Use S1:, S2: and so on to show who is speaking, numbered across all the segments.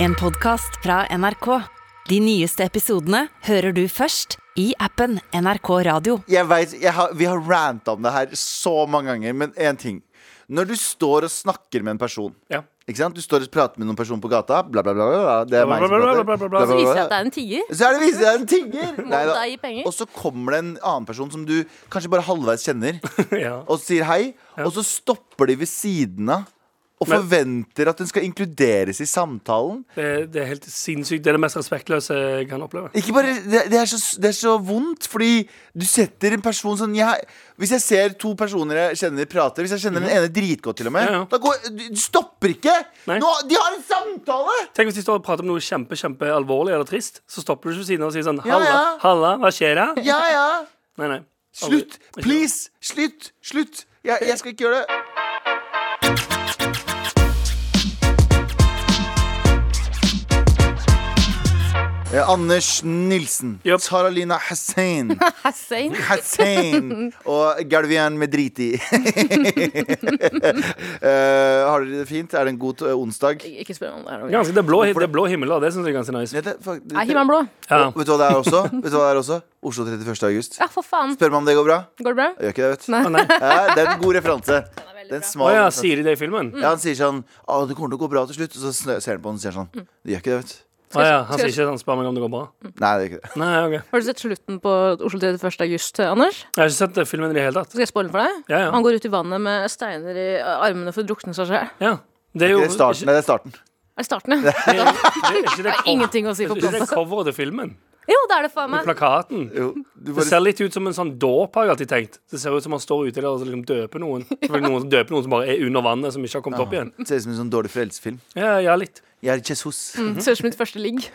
S1: En podcast fra NRK. De nyeste episodene hører du først i appen NRK Radio.
S2: Jeg vet, jeg har, Vi har ranta om det her så mange ganger, men én ting. Når du står og snakker med en person
S3: Ja.
S2: ikke sant? Du står og prater med noen person på gata. Bla, bla, bla, bla, bla. Det er meg som
S3: Bla, bla,
S2: prater.
S3: bla, bla, bla, bla.
S4: Så viser det at det er en tier.
S2: Så er det viser det er en tigger! Nei da.
S4: da gi penger?
S2: Og så kommer det en annen person som du kanskje bare halvveis kjenner,
S3: Ja.
S2: og sier hei. Og så stopper de ved siden av og
S3: Men-
S2: forventer at den skal inkluderes i samtalen.
S3: Det, det er helt sinnssykt. Det er det mest respektløse jeg kan oppleve.
S2: Ikke bare, det, det, er så, det er så vondt, fordi du setter en person sånn jeg, Hvis jeg ser to personer jeg kjenner prater Hvis jeg kjenner den ene dritgodt, til og med
S3: Mhm. Ja, ja.
S2: Da går, du, du stopper ikke!
S3: Nei.
S2: Nå, de har en samtale!
S3: Tenk hvis de står og prater om noe kjempe, kjempe alvorlig eller trist. Så stopper du ikke ved siden av og sier sånn
S2: Ja,
S3: Halla,
S2: ja.
S3: halla, hva skjer da?
S2: Ja, ja.
S3: Nei, nei. Aldri.
S2: Slutt! Please! Slutt! Slutt! Jeg, jeg skal ikke gjøre det. Eh, Anders Nilsen,
S3: Japp.
S2: Tara Lina Hussein,
S4: Hassein.
S2: Hussein og Galvian Medriti. Eh, har dere det fint? Er det en god eh, onsdag?
S4: Ikke spør meg om det er noe gøy.
S3: Ganske, det, er blå, det er blå himmel, da. Det syns jeg er ganske nice.
S2: Vet du, fuck,
S4: Er himmelen blå?
S3: Ja.
S2: Vet du hva det er også? Vet du hva det er også? Oslo 31. august.
S4: Ja, for faen.
S2: Spør meg om det går bra.
S4: Går det bra?
S2: Jeg gjør ikke det, vet du.
S3: Å, nei.
S2: Ja, det er en god referanse. Det er en
S3: Å
S2: smal
S3: ja,
S2: referanse.
S3: sier de det i filmen?
S2: Ja, han sier sånn Å, det kommer til å gå bra til slutt. Og så snø- ser han på han og sier sånn Det gjør ikke det, vet du.
S3: Å ja, han
S4: skal
S3: sier
S4: jeg-
S3: ikke at han spør meg om det går bra.
S2: Nei, det gjør ikke det.
S3: Nei, ok.
S4: Har du sett slutten på Oslo 31. august, Anders?
S3: Jeg har ikke sett eh, filmen i det hele tatt.
S4: Skal jeg spoile for deg?
S3: Ja, ja.
S4: Han går ut i vannet med steiner i eh, armene for å drukne seg selv.
S3: ja. Det er jo
S2: Det er starten. Nei, det er starten.
S4: Er det starten, ja?
S3: Det er, det er ikke det
S4: Det er
S3: cover-
S4: ingenting å si
S3: det
S4: for
S3: er ikke det
S4: plottet.
S3: coveret til filmen.
S4: Jo, det er det faen meg.
S3: Plakaten.
S2: Jo, du
S3: Det
S2: bare
S3: ser litt ut som en sånn dåp, har jeg alltid tenkt. Det ser ut som han står ute der og liksom døper noen. Selvfølgelig noen som døper noen som bare er under vannet, som ikke har kommet opp igjen.
S2: ser ut som en sånn dårlig foreldrefilm.
S3: Ja, ja, litt.
S2: Jeg er Jesus.
S4: Mm, Ser ut som mitt første ligg.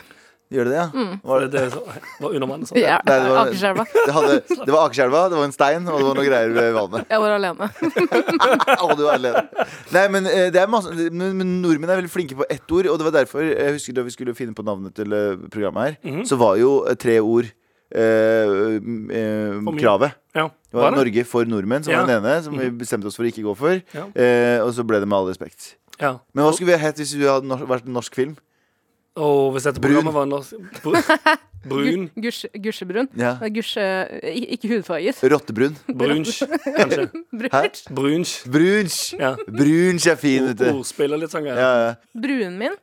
S2: Gjør det det, ja? Var
S3: Det,
S2: det,
S3: det er så, var under vannet, sånn.
S4: Ja,
S2: Nei, det var-
S4: Akerselva.
S2: det, hadde, det var Akerselva, det var en stein, og det var noe greier ved vannet.
S4: Jeg var alene.
S2: Å, du er alene. Nei, men, eh, det er masse, men, men nordmenn er veldig flinke på ett ord, og det var derfor jeg husker da vi skulle finne på navnet til eh, programmet her,
S3: Mhm.
S2: så var jo eh, tre ord eh, eh,
S3: mye.
S2: kravet.
S3: Ja.
S2: Det var Norge for nordmenn, som var
S3: Ja. Mhm.
S2: den ene, som vi bestemte oss for å ikke gå for.
S3: Ja.
S2: Eh, og så ble det med all respekt.
S3: Ja.
S2: Men hva skulle vi ha hett hvis vi hadde nor vært en norsk film?
S3: Og hvis dette
S2: Brun.
S3: programmet var norsk br- Brun.
S4: Gusj- Gusjebrun.
S2: Ja.
S4: Nei, Gusje... i- Ikke hudfarget.
S2: Rottebrun.
S3: Brunsj,
S2: Hæ?
S3: kanskje.
S4: Brunt.
S3: Brunsj.
S2: Brunsj!
S3: Ja.
S2: Brunsj er fin, vet du.
S3: Ordspill og litt sånn
S2: Ja,
S3: greier.
S2: ja.
S4: Bruen min.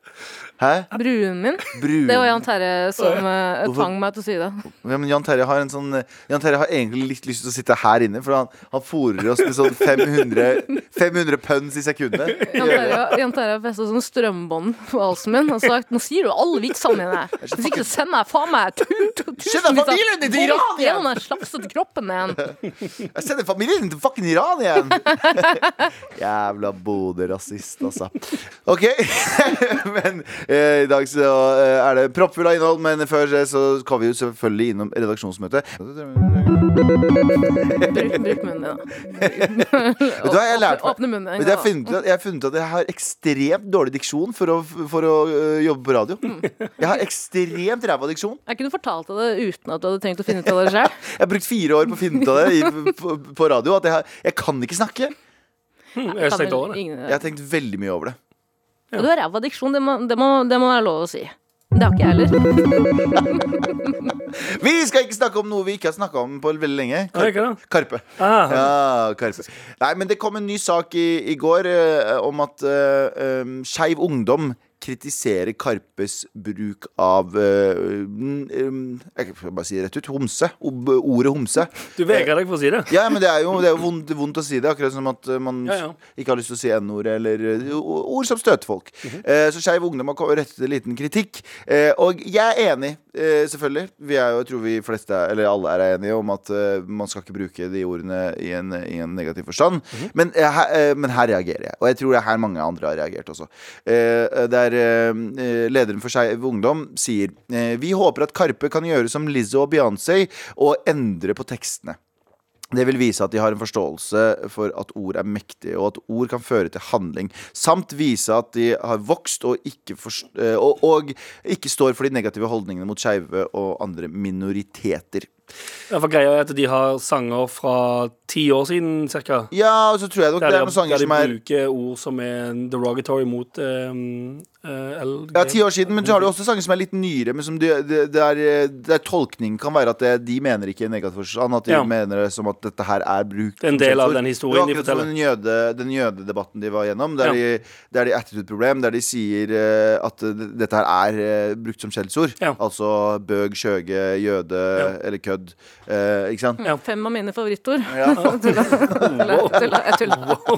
S2: Hæ?
S4: Bruen min.
S2: Brun.
S4: Det var Jan Terje som eh,
S2: Hvorfor-
S4: tvang meg til å si det.
S2: Ja, men Jan Terje har en sånn Jan Terje har egentlig litt lyst til å sitte her inne, for han, han fôrer oss med sånn 500, 500 pønns i sekundet.
S4: Jan Terje- Jan Terje har festa sånn strømbånd på halsen min og sagt nå sier du alle vits sammen igjen her. Hvis ikke så sender jeg faen meg tu- tu-
S2: Send deg
S4: tusenvis av
S2: familien din til Iran
S4: folk
S2: igjen!»
S4: gjennom den slafsete kroppen igjen.
S2: Jeg sender familien din til fucking Iran igjen! Jævla Bodø-rasist, altså. Ok, men eh, i dag så eh, er det proppfull av innhold, men før det så skal vi jo selvfølgelig innom redaksjonsmøtet. Vet
S4: Bruk, bruk munnen din.
S2: du hva jeg har lært
S4: Åpne,
S2: meg?
S4: åpne munnen.
S2: Vet du, Jeg har funnet ut at- jeg har funnet ut at jeg har ekstremt dårlig diksjon for å, for å eh, jobbe på radio. Jeg har ekstremt ræva diksjon.
S4: Jeg kunne fortalt deg det uten at du hadde trengt å finne ut av det sjøl.
S2: Jeg har brukt fire år på å finne ut av det i, på, på radio. At jeg, har, jeg kan ikke snakke.
S3: Hm, Jeg har stengt årene.
S2: Jeg har tenkt veldig mye over det.
S4: Og du har ræva diksjon, det må, det, må, det må være lov å si. Det har ikke jeg heller.
S2: Vi skal ikke snakke om noe vi ikke har snakka om på veldig lenge.
S3: Nei, ikke det.
S2: Karpe.
S3: Ah,
S2: Ja, Karpe. Nei, men det kom en ny sak i, i går eh, om at eh, um, Skeiv Ungdom kritiserer Karpes bruk av eh, mm, um, Jeg kan bare si det rett ut. Homse. Ob- Ordet homse.
S3: du vegrer deg for å si det.
S2: Ja, men det er jo, det er jo vondt, vondt å si det. Akkurat som at eh, man
S3: Ja, ja.
S2: ikke har lyst til å si n-ordet, eller eh, o- ord som støter folk.
S3: Mhm.
S2: Eh, så Skeiv Ungdom har ko- rettet en liten kritikk. Eh, og jeg er enig, eh, selvfølgelig. Vi er jo, jeg tror vi fleste, er- eller alle er enige om at eh, man skal ikke bruke de ordene i en, i en negativ forstand.
S3: Mhm.
S2: men, eh, her, eh, men her reagerer jeg. Og jeg tror det er her mange andre har reagert også. Eh, der eh, eh, lederen for Skeiv Ungdom sier eh, Vi håper at Karpe kan gjøre som Lizzo og Beyoncé og endre på tekstene. Det vil vise at de har en forståelse for at ord er mektige, og at ord kan føre til handling. Samt vise at de har vokst og ikke, forst eh, og, og ikke står for de negative holdningene mot skeive og andre minoriteter.
S3: Ja, for greia er at de har sanger fra ti år siden, cirka.
S2: Ja, og så tror jeg nok
S3: Der
S2: det er
S3: de,
S2: noen sanger
S3: der de
S2: som er
S3: bruker ord som er derogatory mot um, uh, LG.
S2: ja, ti år siden, men så har du også sanger som er litt nyere, men som de, de, der, der tolkningen kan være at det, de mener ikke i negativ forstand, at de
S3: Ja.
S2: mener det som at dette her er brukt.
S3: Det er en
S2: som
S3: del av
S2: skjellsord.
S3: den historien de
S2: Det var akkurat som den, jøde, den jødedebatten de var gjennom, der
S3: Ja.
S2: de, der de attitude problem, der de sier eh, at det- dette her er eh, brukt som skjellsord.
S3: Ja.
S2: Altså bøg, skjøge, jøde eller kødd. Eh, ikke sant?
S3: Ja.
S4: Fem av mine favorittord.
S2: Ja.
S4: Tulla. Tulla. Tulla. Jeg tulla.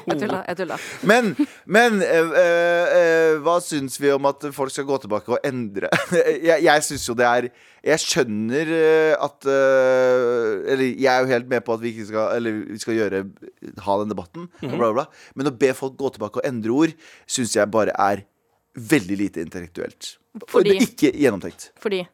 S4: Jeg tulla. Jeg tulla.
S2: Men, men eh, eh, eh, hva syns vi om at folk skal gå tilbake og endre? jeg jeg syns jo det er Jeg skjønner eh, at eh, Eller jeg er jo helt med på at vi ikke skal Eller vi skal gjøre ha den debatten, bla, bla, bla. Men å be folk gå tilbake og endre ord syns jeg bare er veldig lite intellektuelt.
S4: Fordi?
S2: Det er Ikke gjennomtenkt.
S4: Fordi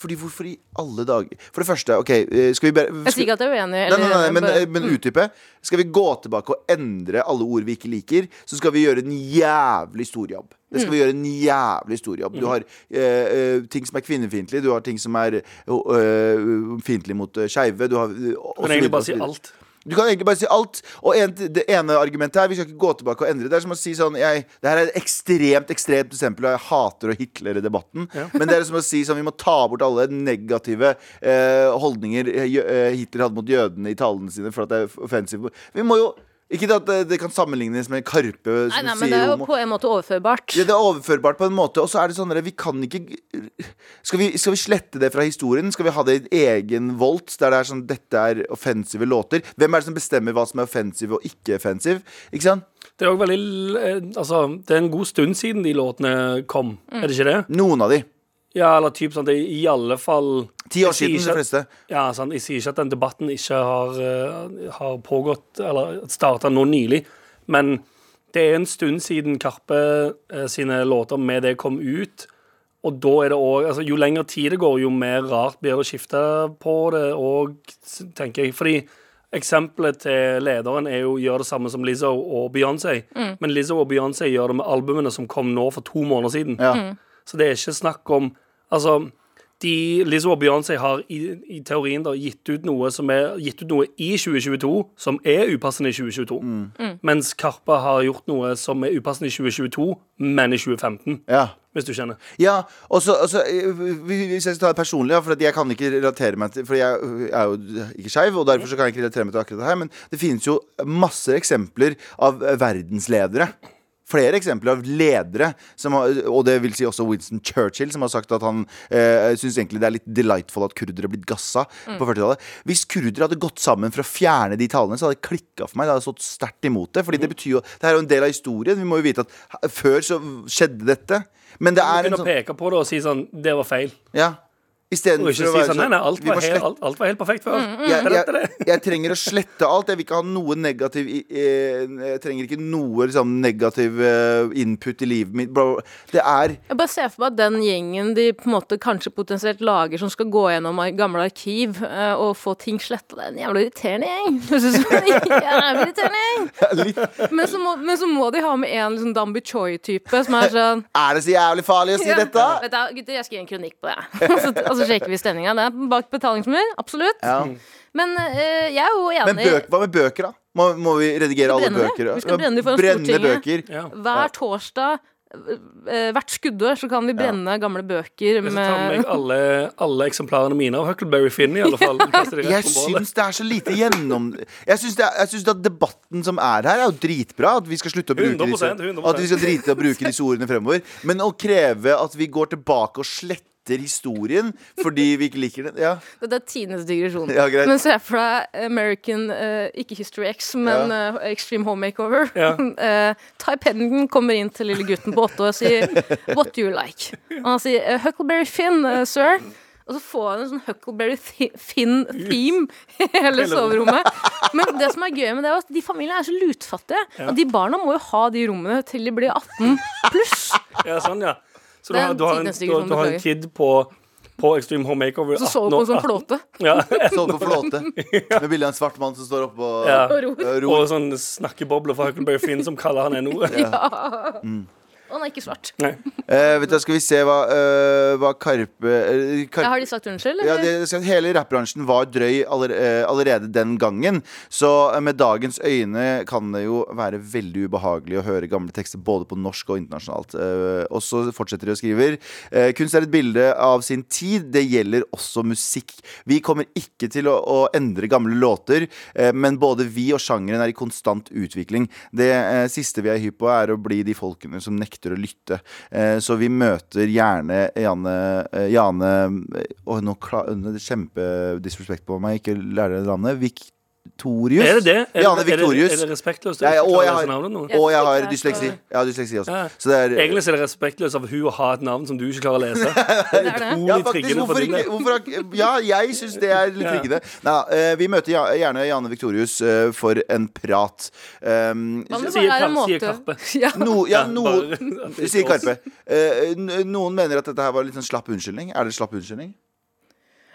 S2: Fordi hvorfor i alle dager For det første, OK, eh, skal vi bare
S4: Jeg sier ikke at jeg er uenig.
S2: Nei, nei, nei,
S4: eller-
S2: men, eh, men utdype. Skal vi gå tilbake og endre alle ord vi ikke liker, så skal vi gjøre en jævlig stor jobb. Det skal vi gjøre en jævlig stor jobb. Du har eh, eh, ting som er kvinnefiendtlig, du har ting som er uh, fiendtlig mot uh, skeive. Du har eh, og- og så videre,
S3: Men egentlig
S2: og
S3: bare
S2: så
S3: si
S2: videre.
S3: alt.
S2: Du kan egentlig bare si alt. Og en, det ene argumentet er vi skal ikke gå tilbake og endre. Det er som å si sånn jeg, Det her er et ekstremt ekstremt eksempel, og jeg hater å hitlere debatten. Men det er som å si sånn vi må ta bort alle negative eh, holdninger eh, jø- eh, Hitler hadde mot jødene i talene sine for at det er offensive. Vi må jo Ikke det at det, det kan sammenlignes med Karpe som
S4: Nei, nei, men
S2: sier
S4: det er jo
S2: homo.
S4: på en måte overførbart.
S2: Ja, det er overførbart på en måte, og så er det sånn at vi kan ikke skal vi, skal vi slette det fra historien? Skal vi ha det i egen volt, der det er sånn dette er offensive låter? Hvem er det som bestemmer hva som er offensive og ikke offensive? Ikke sant?
S3: Det er også veldig l- eh, Altså, det er en god stund siden de låtene kom, er det ikke det?
S2: Noen av de.
S3: Ja, eller typ sånn, det er i alle fall
S2: Ti år
S3: Jeg
S2: siden,
S3: sier ikke-
S2: de fleste.
S3: Ja, sant. Jeg sier ikke at den debatten ikke har, eh, har pågått eller starta nå nylig, men det er en stund siden Karpe eh, sine låter med det kom ut. Og da er det òg altså, Jo lengre tid det går, jo mer rart blir det å skifte på det òg, tenker jeg. Fordi eksempelet til lederen er jo gjør det samme som Lizzo og Beyoncé. Men Lizzo og Beyoncé gjør det med albumene som kom nå for to måneder siden.
S2: Ja.
S3: Så det er ikke snakk om Altså, de, Lizzo og Beyoncé har i, i teorien da gitt ut noe som er gitt ut noe i 2022 som er upassende i 2022.
S2: Mm.
S3: Mens Karpe har gjort noe som er upassende i 2022, men i 2015.
S2: Ja.
S3: Hvis du kjenner.
S2: Ja, og så, og så eh, vi- Hvis jeg skal ta det personlig, ja, for at jeg kan ikke relatere meg til For jeg er jo ikke skeiv, og derfor så kan jeg ikke relatere meg til akkurat det her. Men det finnes jo masse eksempler av eh, verdensledere. Flere eksempler av ledere, som har, og det vil si også Winston Churchill, som har sagt at han eh, syns egentlig det er litt delightful at kurdere er blitt gassa på 40-tallet. Hvis kurdere hadde gått sammen for å fjerne de talene, så hadde det klikka for meg. Det hadde jeg stått sterkt imot det. Fordi det betyr jo Det her er jo en del av historien. Vi må jo vite at h- før så skjedde dette. Men det er en
S3: Begynn å
S2: sånn
S3: peke på det og si sånn Det var feil.
S2: ja.
S3: Og
S2: Istedenfor
S3: ikke
S2: å
S3: si
S2: være
S3: sånn Nei, nei, alt
S2: vi må
S3: var, helt,
S2: slette-
S3: alt, alt var helt perfekt før.
S2: jeg,
S3: Det er dette,
S2: jeg,
S3: det.
S2: jeg trenger å slette alt. Jeg vil ikke ha noe negativ i- eh, Jeg trenger ikke noe liksom, negativ eh, input i livet mitt. Bla, bla, bla. Det er
S4: Jeg bare ser for meg at den gjengen de på en måte kanskje potensielt lager, som skal gå gjennom ar- gamle arkiv eh, og få ting sletta, det er en jævla irriterende gjeng. Jeg synes det er en jævla irriterende gjeng. Men så må, men så må de ha med en liksom Dambi Choi-type som er sånn
S2: Er det så jævlig farlig å si
S4: Ja.
S2: dette?
S4: Vet du, hva, gutter, jeg skriver en kronikk på det. Og så, og så sjekker vi stemninga. Det er bak betalingsmur, absolutt.
S2: Ja.
S4: Men eh, jeg er jo enig
S2: Men bøk, hva med bøker, da? Må, må vi redigere alle
S4: brenne det.
S2: bøker?
S4: Vi skal brenne det foran Stortinget.
S2: bøker.
S3: Ja.
S4: Hver torsdag, eh, hvert skuddår, så kan vi brenne gamle bøker
S3: Jeg skal ta med
S4: med
S3: meg alle, alle eksemplarene mine av Huckleberry Finn, i alle fall. Kaste de rett
S2: Jeg
S3: på bålet.
S2: syns det er så lite gjennom... Jeg syns, det er, jeg syns at debatten som er her, er jo dritbra. At vi skal slutte å bruke, disse,
S3: 100%, 100%.
S2: at vi skal drite i å bruke disse ordene fremover. Men å kreve at vi går tilbake og sletter historien fordi vi ikke liker den ja.
S4: Dette er tidenes digresjon.
S2: Ja, greit.
S4: men se for deg American eh, Ikke History X, men eh, Extreme Home Makeover.
S3: Ja.
S4: Eh, Ty Pennington kommer inn til lille gutten på åtte og sier 'What do you like?' Og han sier eh, 'Huckleberry Finn, eh, sir'. Og så får han en sånn Huckleberry Thi- Finn-theme i hele soverommet. Men det som er gøy med det, er at de familiene er så lutfattige. Og de barna må jo ha de rommene til de blir 18 pluss.
S3: Ja, sånn, ja. Så du
S4: Det er
S3: har,
S4: en
S3: du har, en,
S4: tidenes
S3: du,
S4: digresjon,
S3: du har en
S4: beklager.
S3: kid på, på Extreme Home Makeover
S4: Så sover på en sånn
S3: 18 år- Ah,
S4: flåte.
S3: Ja,
S2: Så på flåte. Med bilde av en svart mann som står oppe eh, og
S3: Ja.
S2: og ror.
S3: Og sånn snakkeboble fra Huckleberry Finn som kaller han NO.
S4: Og han er ikke svart.
S3: Nei.
S2: Eh, vet du, hva, skal vi se hva, eh, hva Karpe, eh, Karpe
S4: Ja, har de sagt unnskyld,
S2: ja,
S4: eller?
S2: det, så hele rappbransjen var drøy aller, eh, allerede den gangen. Så eh, med dagens øyne kan det jo være veldig ubehagelig å høre gamle tekster både på norsk og internasjonalt. Eh, og så fortsetter de og skriver. Eh, kunst er et bilde av sin tid. Det gjelder også musikk. Vi kommer ikke til å, å endre gamle låter, eh, men både vi og sjangeren er i konstant utvikling. Det eh, siste vi er hypp på, er å bli de folkene som nekter å lytte. Eh, så vi møter gjerne Jane, eh, Jane Åh, nå kla- nå er det kjempedisrespekt på meg, ikke lærer det navnet. Victorius.
S3: Er det det? Er,
S2: Jane
S3: det, er, det,
S2: Victorius.
S3: er det respektløst?
S2: Ja, ja, og jeg
S3: jeg
S2: har-
S3: har...
S2: Og jeg har
S4: Jeg tror ikke
S2: dysleksi.
S4: jeg
S2: Jeg har dysleksi også.
S3: Ja.
S2: Så det er,
S3: Egentlig så er det respektløst av hun å ha et navn som du ikke klarer å lese.
S4: Det er det.
S2: ja,
S3: Utrolig
S2: faktisk,
S3: triggende for
S2: hvorfor
S3: din
S2: ikke?
S3: del.
S2: Hvorfor, har ikke- ja, jeg syns det er litt
S3: Ja.
S2: triggende. Nei, eh, vi møter ja- gjerne Jane Victorius eh, for en prat. Um,
S4: Hva om det
S3: Sier
S4: bare er
S3: Karpe, sier
S4: en måte å-
S3: Karpe.
S4: Ja.
S2: no, ja, noen
S3: bare- at det
S2: Sier
S3: ikke er oss.
S2: Karpe. Eh, n- noen mener at dette her var litt sånn slapp unnskyldning. Er det slapp unnskyldning?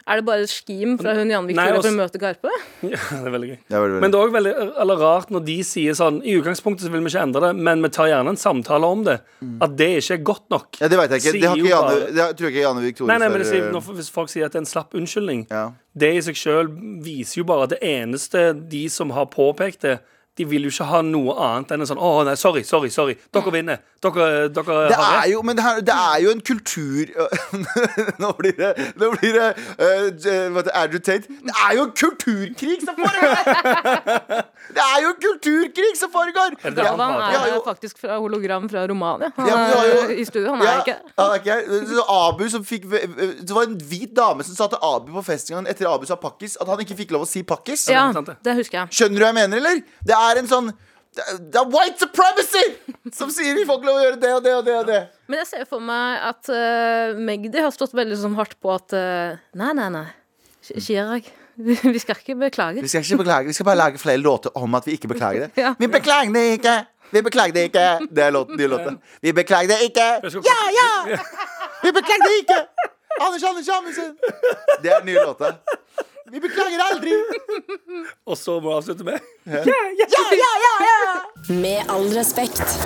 S4: Er det bare et skim fra hun Janne
S3: Nei,
S4: Victoria
S3: også-
S4: for å møte Garpe?
S3: Ja, det er veldig gøy.
S2: Ja, veldig, veldig.
S3: Men det er også veldig eller rart når de sier sånn I utgangspunktet så vil vi ikke endre det, men vi tar gjerne en samtale om det. At det ikke er godt nok.
S2: Mm. ja, det veit jeg ikke. Det, har
S3: Sier
S2: ikke
S3: jo
S2: Jane,
S3: bare-
S2: det har- tror jeg ikke Jane Victorius
S3: Nei, nei, men
S2: har,
S3: det sier,
S2: eh,
S3: når, Hvis folk sier at det er en slapp unnskyldning,
S2: ja.
S3: det i seg sjøl viser jo bare at det eneste de som har påpekt det, de vil jo ikke ha noe annet enn en sånn Å, nei, sorry, sorry, sorry. Dere vinner. Dere, dere
S2: Det
S3: har
S2: er
S3: rett.
S2: jo, men det, her, det er jo en kultur Nå blir det, nå blir det eh, J- hva heter det, Andrew Tate. Det er jo en kulturkrig som foregår! Det er jo en kulturkrig som foregår!
S3: det det
S2: Ja,
S3: han
S4: Galvan
S3: har-
S2: ja,
S4: er
S2: jo.
S4: faktisk fra hologram fra Romania. Han
S2: Ja, men du har jo-
S4: er i studio, han
S2: ja,
S4: er ikke
S2: han er ikke her. Så Abu som fikk Det var en hvit dame som sa til Abu på festningen etter Abu sa pakkis, at han ikke fikk lov å si pakkis.
S4: Ja,
S3: sant det.
S4: det husker jeg.
S2: Skjønner du hva jeg mener, eller? Det er en sånn Det er- det er white supremacy som sier vi får ikke lov å gjøre det og det og det. og det
S4: Men jeg ser for meg at eh, Magdi har stått veldig sånn hardt på at eh, Nei, nei, nei.
S3: Mm.
S4: Sh- Chirag, vi, vi skal ikke beklage.
S2: Vi skal ikke beklage, vi skal bare lage flere låter om at vi ikke beklager det.
S4: Ja.
S2: Vi beklager det ikke! Vi beklager det ikke! Det er låten, nye låta. Vi beklager det ikke! Ja, ja! Vi beklager det ikke! Anders Anders Amundsen! Det er den nye låta. Vi beklager aldri!
S3: Og så må vi avslutte med
S2: Ja, ja, ja, ja!
S1: Med all respekt.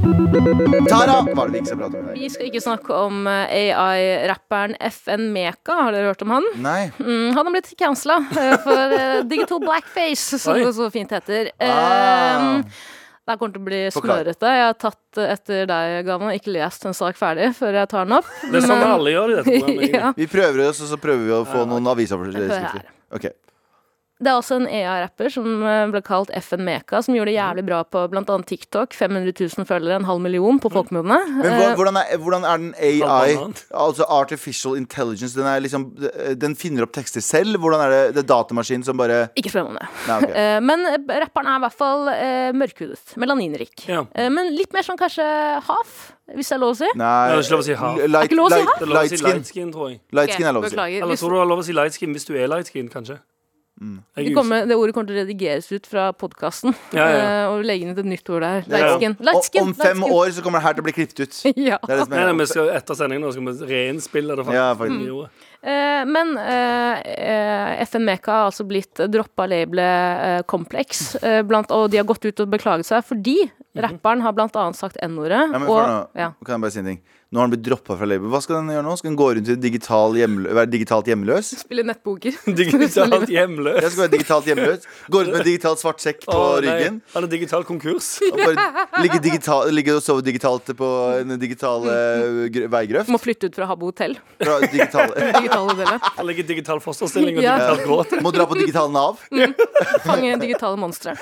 S2: Tara var det vi ikke så prate om i dag.
S4: Vi skal ikke snakke om eh, AI-rapperen FN Meka. Har dere hørt om han?
S2: Nei.
S4: Mm, han har blitt cancela eh, for eh, digital blackface, som
S3: Oi.
S4: det så fint heter.
S2: Ah.
S4: Um, det her kommer til å bli
S2: Forklar.
S4: smørete. Jeg har tatt eh, etter deg, Gavan, og ikke lest en sak ferdig før jeg tar den opp.
S3: Det er sånn alle gjør i dette programmet.
S4: ja.
S2: Vi prøver oss, og så prøver vi å få noen
S4: Hør
S2: avisoverskrifter.
S4: her.
S2: Ok.
S4: Det er også en EA-rapper som eh, ble kalt FN Meka, som gjorde
S2: Mm.
S4: det jævlig bra på bl.a. TikTok. 500 000 følgere, en halv million på folkemunne.
S2: Mm. Men
S4: Eh,
S2: hvordan, hvordan, er, hvordan er den AI,
S3: Halvbanan.
S2: altså artificial intelligence, den, er liksom, den finner opp tekster selv? Hvordan er det, det er datamaskinen som bare
S4: Ikke spør meg om det.
S2: Nei, ok.
S4: Eh, Men eh, rapperen er i hvert fall eh, mørkhudet. Melaninrik.
S3: Ja.
S4: Eh, Men litt mer sånn kanskje half, hvis det er lov å si.
S2: Nei,
S3: Det er ikke lov å si ha.
S2: l- Light,
S4: ikke lov å si
S2: light-
S3: Det
S4: ha?
S3: er lov å
S2: light
S3: si
S2: skin.
S3: light skin, tror jeg.
S2: Light skin er lov å si.
S4: Beklager.
S3: Eller
S4: Hvis
S3: tror du det er lov å si light skin hvis du er light skin, kanskje?
S2: Mm.
S3: Jeg
S4: det,
S3: er
S4: kommer, det ordet kommer til å redigeres ut fra podkasten.
S3: Ja, ja, ja.
S4: Og legge inn et nytt ord der.
S3: Ja, ja.
S4: Light skin. Light
S2: Og
S4: skin.
S2: om fem
S4: light
S2: år så kommer det her til å bli klippet ut. Det
S4: skin. Ja.
S2: er det som
S3: Nei, nei,
S2: er
S3: vi skal etter sendingen nå skal vi reinnspille det.
S2: Ja,
S3: faktisk.
S2: faktisk.
S3: Jo.
S4: Eh, men eh, eh, FN Meka har altså blitt droppa labelet eh, Complex, eh, blant, og de har gått ut og beklaget seg fordi rapperen har blant annet sagt N-ordet.
S2: Nei, men
S4: og-
S2: for nå,
S4: ja.
S2: kan jeg bare si en ting Nå har han blitt droppa fra label. Hva skal den gjøre nå? Skal den gå rundt i digital hjemlø være digitalt hjemløs?
S4: Spille nettboker.
S3: Digitalt hjemløs.
S2: Jeg skal være digitalt hjemløs Gå rundt med digital svart sekk på
S3: Å, nei.
S2: ryggen.
S3: Han er digital konkurs.
S2: Og bare ligge, digital, ligge og sove digitalt på en digital eh, gr- veigrøft.
S4: Må flytte ut fra Habbo hotell.
S2: Fra digital,
S4: Digitale hotellet.
S3: Han ligger i digital fosterstilling og
S4: Ja.
S3: digital gråt.
S2: må dra på digital Nav.
S4: Fange digitale monstre.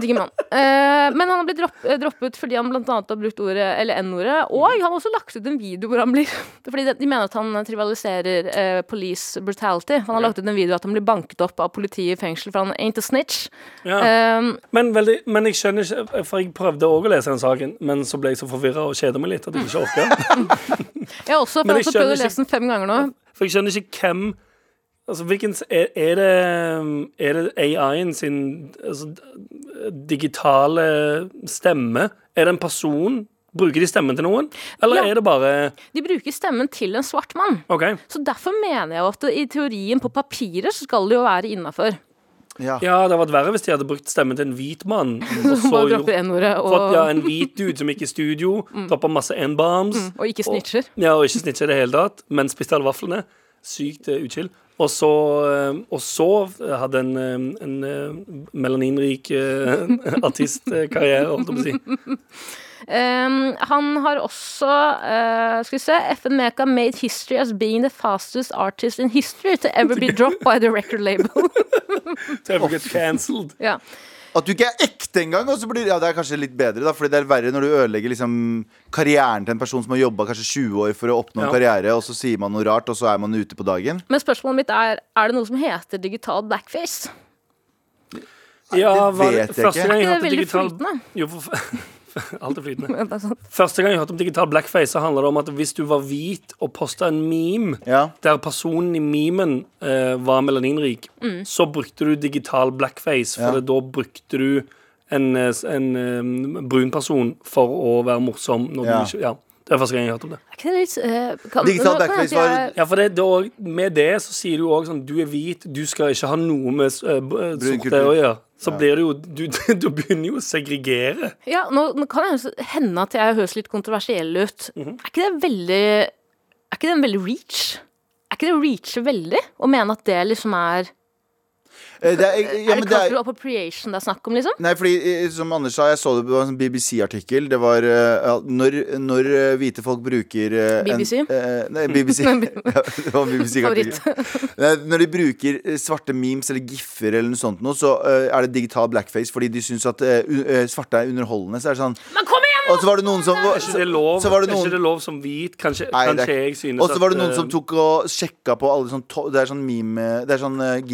S4: Digger mann. Eh, men han har blitt dropp, eh, droppet fordi han blant annet har brukt ordet, eller N-ordet. Og
S3: Mm.
S4: han har også lagt ut en video hvor han blir Fordi de, de mener at han trivialiserer eh, police brutality. Han har lagt ut en video at han blir banket opp av politiet i fengsel, for han ain't a snitch.
S3: Ja.
S4: Eh,
S3: Men, veldig, men jeg skjønner ikke For jeg prøvde òg å lese den saken, men så ble jeg så forvirra og kjeda meg litt at jeg ikke orka.
S4: jeg har også,
S3: Men jeg
S4: for jeg har også prøvd
S3: skjønner
S4: å lese den fem ganger nå.
S3: For jeg skjønner ikke hvem Altså, hvilken s- Er, er det, er det AI-en sin altså, digitale stemme? Er det en person? Bruker de stemmen til noen? Eller
S4: Ja.
S3: er det bare
S4: De bruker stemmen til en svart mann.
S3: OK.
S4: Så derfor mener jeg jo at i teorien på papiret så skal det jo være innafor.
S2: Ja.
S3: Ja, det hadde vært verre hvis de hadde brukt stemmen til en hvit mann. Og
S4: Så
S3: så
S4: bare
S3: gjort,
S4: dropper N-ordet og, Mm.
S3: fått ja, en hvit dude som gikk i studio, droppa masse N-bombs.
S4: og ikke snitcher.
S3: Ja, og ikke snitcha i det hele tatt, men spiste alle vaflene. Sykt eh, uchill. Og så, eh, og så hadde en, eh, en eh, melaninrik eh, artistkarriere, holdt jeg på å si.
S4: Um, han har også uh, Skal vi se FN Meka made history as being the fastest artist in history to ever be dropped by the record label.
S3: Ever get cancelled.
S4: ja.
S2: At du ikke er ekte engang! Og så blir, ja, det er kanskje litt bedre, da, Fordi det er verre når du ødelegger liksom, karrieren til en person som har jobba kanskje 20 år for å oppnå en karriere, og så sier man noe rart, og så er man ute på dagen.
S4: Men spørsmålet mitt er Er det noe som heter digital blackface?
S3: Ja,
S2: det
S3: var det-
S2: vet jeg
S3: første
S2: ikke.
S3: gang jeg
S4: Det er
S3: hørte
S4: veldig
S3: digital-
S4: flytende.
S3: Jo, for, alt er flytende.
S4: Det er sånn-
S3: Første gang jeg hørte om digital blackface, så handler det om at hvis du var hvit og posta en meme
S2: Ja.
S3: der personen i memen eh, var melaninrik, så brukte du digital blackface, for
S2: Ja.
S3: da brukte du en, eh, s- en eh, brun person for å være morsom. Når
S2: Ja.
S3: du ikke, ja. Det er første gang jeg hørte om det.
S4: Er ikke det litt eh, kan-
S2: Digital
S4: nå- nå heter
S2: blackface
S4: jeg-
S3: Ja, for det, det er også- Med det så sier du òg sånn Du er hvit, du skal ikke ha noe med s- eh, b- eh,
S2: Brun
S3: sorte
S2: kultur.
S3: å gjøre. Så blir det jo du, du begynner jo å segregere.
S4: Ja, nå, nå kan det hende at jeg høres litt kontroversiell ut. Er ikke det veldig Er ikke det en veldig reach? Er ikke det å reache veldig? Å mene at det liksom er
S2: Eh, Det er, ja,
S4: Er
S2: men
S4: det
S2: det er,
S4: cultural appropriation det er snakk om, liksom?
S2: Nei, fordi eh, som Anders sa, jeg så det på en sånn BBC-artikkel. Det var eh, ja, når, når eh, hvite folk bruker eh,
S4: BBC?
S2: En, eh, nei, BBC. ja, det var BBC-artikkel. Nei, Når de bruker eh, svarte memes eller giffer eller noe sånt, nå, så eh, er det digital blackface fordi de syns at eh, u- eh, svarte er underholdende. Så er det sånn
S4: Men kom igjen!
S2: Og så var det noen som
S3: Er ikke det lov,
S2: så var det
S3: er
S2: noen
S3: ikke det lov som hvit? Kanskje,
S2: Nei, det
S3: kanskje
S2: er-
S3: jeg synes
S2: og så var det noen
S3: eh,
S2: som tok og sjekka på alle sånn to, Det er sånn meme Det er sånn eh,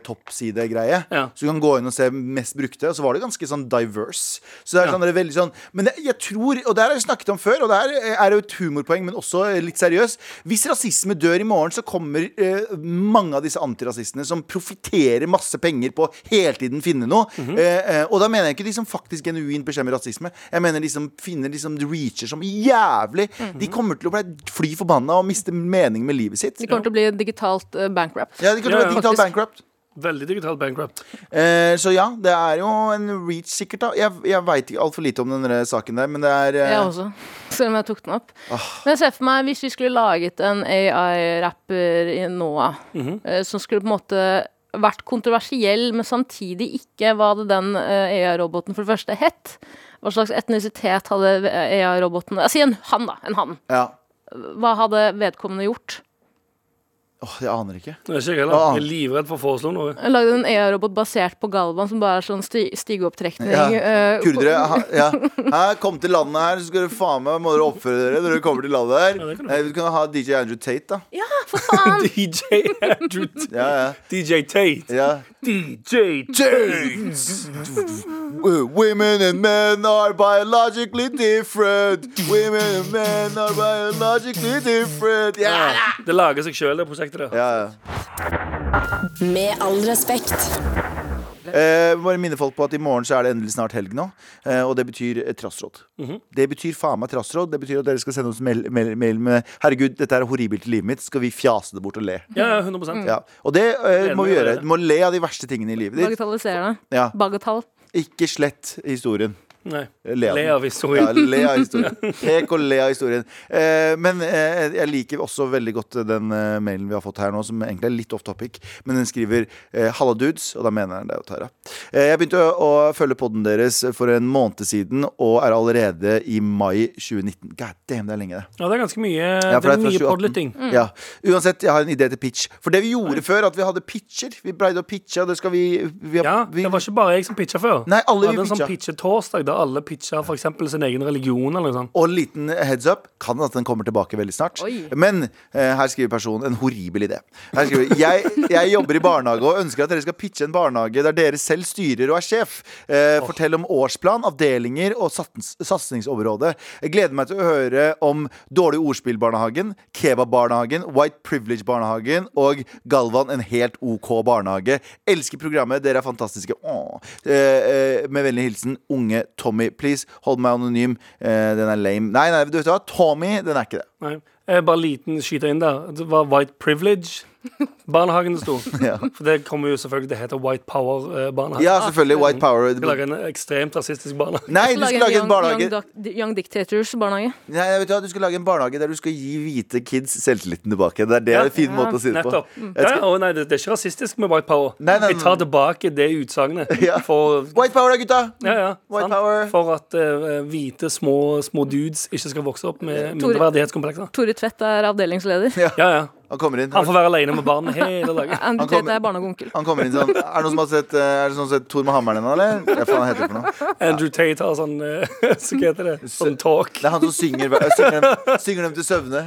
S2: gif-toppside-greie.
S3: Ja.
S2: Så du kan gå inn og se mest brukte, og så var det ganske sånn diverse. Så det er sånn, det er veldig sånn Men jeg, jeg tror, og det her har jeg snakket om før, og det her eh, er jo et humorpoeng, men også litt seriøs Hvis rasisme dør i morgen, så kommer eh, mange av disse antirasistene som profitterer masse penger på å hele tiden finne noe.
S3: Mhm.
S2: eh, eh, og da mener jeg ikke de som faktisk genuint bekjemper rasisme. Jeg mener de som finner de som reacher som jævlig. De
S3: Mhm.
S2: kommer til å bli fly forbanna og miste mening med livet sitt.
S4: De kommer til å bli digitalt eh, bankrupt.
S2: Ja, de kommer til å
S3: Ja,
S2: bli
S3: ja.
S2: digitalt bankrupt.
S3: Veldig digital bankrupt.
S2: Eh, så ja, det er jo en reach sikkert, da. Jeg, jeg veit ikke altfor lite om den der saken der, men det er eh,
S4: Jeg også, selv om jeg tok den opp.
S2: Ah.
S4: Men jeg ser for meg hvis vi skulle laget en AI-rapper i NOA,
S2: Mhm.
S4: eh, som skulle på en måte vært kontroversiell, men samtidig ikke hva det den eh, AI-roboten for det første het. Hva slags etnisitet hadde eh, AI-roboten Jeg sier en han, da. En han.
S2: ja.
S4: Hva hadde vedkommende gjort?
S2: Åh, jeg aner ikke.
S3: Det er ikke jeg heller.
S2: Ah.
S3: Jeg er livredd for å foreslå noe.
S4: Jeg Lagde en AI-robot basert på Galvan, som bare er sånn sti stigeopptrekning.
S2: Ja.
S4: eh,
S2: Kurdere, ha, ja. Hæ, kom til landet her, så skal dere faen meg må dere oppføre dere når dere kommer til landet her.
S3: Ja, det kan du.
S2: Nei, vi kan ha DJ Andrew Tate, da.
S4: Ja, for faen!
S3: DJ Andrew T-
S2: Ja, ja.
S3: DJ Tate.
S2: ja.
S3: DJ Tate.
S2: Women and men are biologically different. Women and men are biologically different. Ja, da.
S3: Det lager seg sjøl, det prosjektet der.
S2: ja, ja.
S5: Med all respekt.
S2: Eh, bare minne folk på at i morgen så er det endelig snart helg nå. Eh, og det betyr eh, trassråd.
S3: Mhm.
S2: Det betyr faen meg trassråd. Det betyr at dere skal sende oss mail, mail, mail med 'Herregud, dette er horribelt i livet mitt'. Skal vi fjase det bort og le?
S3: Ja, ja, 100
S2: Ja. Og det eh,
S3: Gleder
S2: må vi
S3: meg å
S2: gjøre.
S3: gjøre det.
S2: Du må le av de verste tingene i livet ditt.
S4: Bagatelliserer det.
S2: Ja.
S4: Bagatall.
S2: Ikke slett historien.
S3: Nei.
S2: Le av
S3: Le
S2: den.
S3: av
S2: Ja,
S3: historien.
S2: le av historien. Pek og le av historien. Eh, men eh, jeg liker også veldig godt den eh, mailen vi har fått her nå, som egentlig er litt off topic, men den skriver eh, 'Halla dudes', og da mener han deg og Tara. Eh, jeg begynte å, å følge podden deres for en måned siden, og er allerede i mai 2019. God damn, det er lenge, det.
S3: Ja, det er ganske mye
S2: Ja,
S3: Det
S2: for det er
S3: er mye
S2: fra 2018.
S3: podlytting. Mm.
S2: Ja. Uansett, jeg har en idé til pitch. For det vi gjorde før, at vi hadde pitcher. Vi breide og pitcha. Det skal vi, vi har-
S3: Ja,
S2: vi,
S3: det var ikke bare jeg som pitcha før.
S2: Nei, alle
S3: Vi hadde
S2: vi
S3: en sånn
S2: pitcha.
S3: pitchetorsdag der alle pitcha for eksempel sin egen religion eller noe sånt.
S2: Og en liten heads up, kan at den kommer tilbake veldig snart.
S4: Oi.
S2: Men eh, her skriver personen en horribel idé. Her skriver jeg, jeg jobber i barnehage og ønsker at dere skal pitche en barnehage der dere selv styrer og er sjef. Eh, Fortell om årsplan, avdelinger og satens- satsingsområde. Jeg gleder meg til å høre om Dårlig ordspill-barnehagen, Kebab-barnehagen, White Privilege-barnehagen og Galvan en helt OK barnehage. Elsker programmet, dere er fantastiske. Åh. Eh, eh, med vennlig hilsen unge Tommy. Please, hold meg anonym. Eh, den er lame. Nei, nei, du vet hva, Tommy, den er ikke det.
S3: Nei. Eh, Eh, Bare liten skyte inn der. Det var White Privilege. Barnehagen det sto.
S2: Ja.
S3: For det kommer jo selvfølgelig til å hete White eh, Power-barnehage.
S2: Ja, selvfølgelig. White power.
S3: Vi lager en ekstremt rasistisk barnehage.
S2: Nei, du skal lage en barnehage
S4: young, Doc- young Dictators barnehage.
S2: Nei, vet du, hva, du skal lage en barnehage der du skal gi hvite kids selvtilliten tilbake. Det er det
S3: Ja.
S2: en fin måte å si det på.
S3: Nettopp. Ja, ja, å nei, det, det er ikke rasistisk med White Power.
S2: Nei, nei, nei.
S3: Jeg tar tilbake det utsagnet.
S2: Ja.
S3: For
S2: White power, da, gutta!
S3: ja, ja,
S2: White
S3: sant.
S2: power.
S3: For at eh, hvite, små, små dudes ikke skal vokse opp med
S4: Tore-
S3: mindreverdighetskomplekser.
S4: Tore Tvedt er avdelingsleder.
S3: Ja, ja.
S2: Han kommer inn.
S3: Han får være alene med barnet hele dagen.
S4: Andrew
S2: Han kommer-
S4: Tvedt er barnehageonkel.
S2: Han kommer inn sånn Er det noen som har sett, eh, er det noen som har sett Tor med hammeren ennå, eller? Hva faen heter det for noe?
S3: Andrew Tate har sånn eh, Så hva heter det? Sånn talk.
S2: Det er han som synger, hver- eh, synger, dem, synger dem til søvne.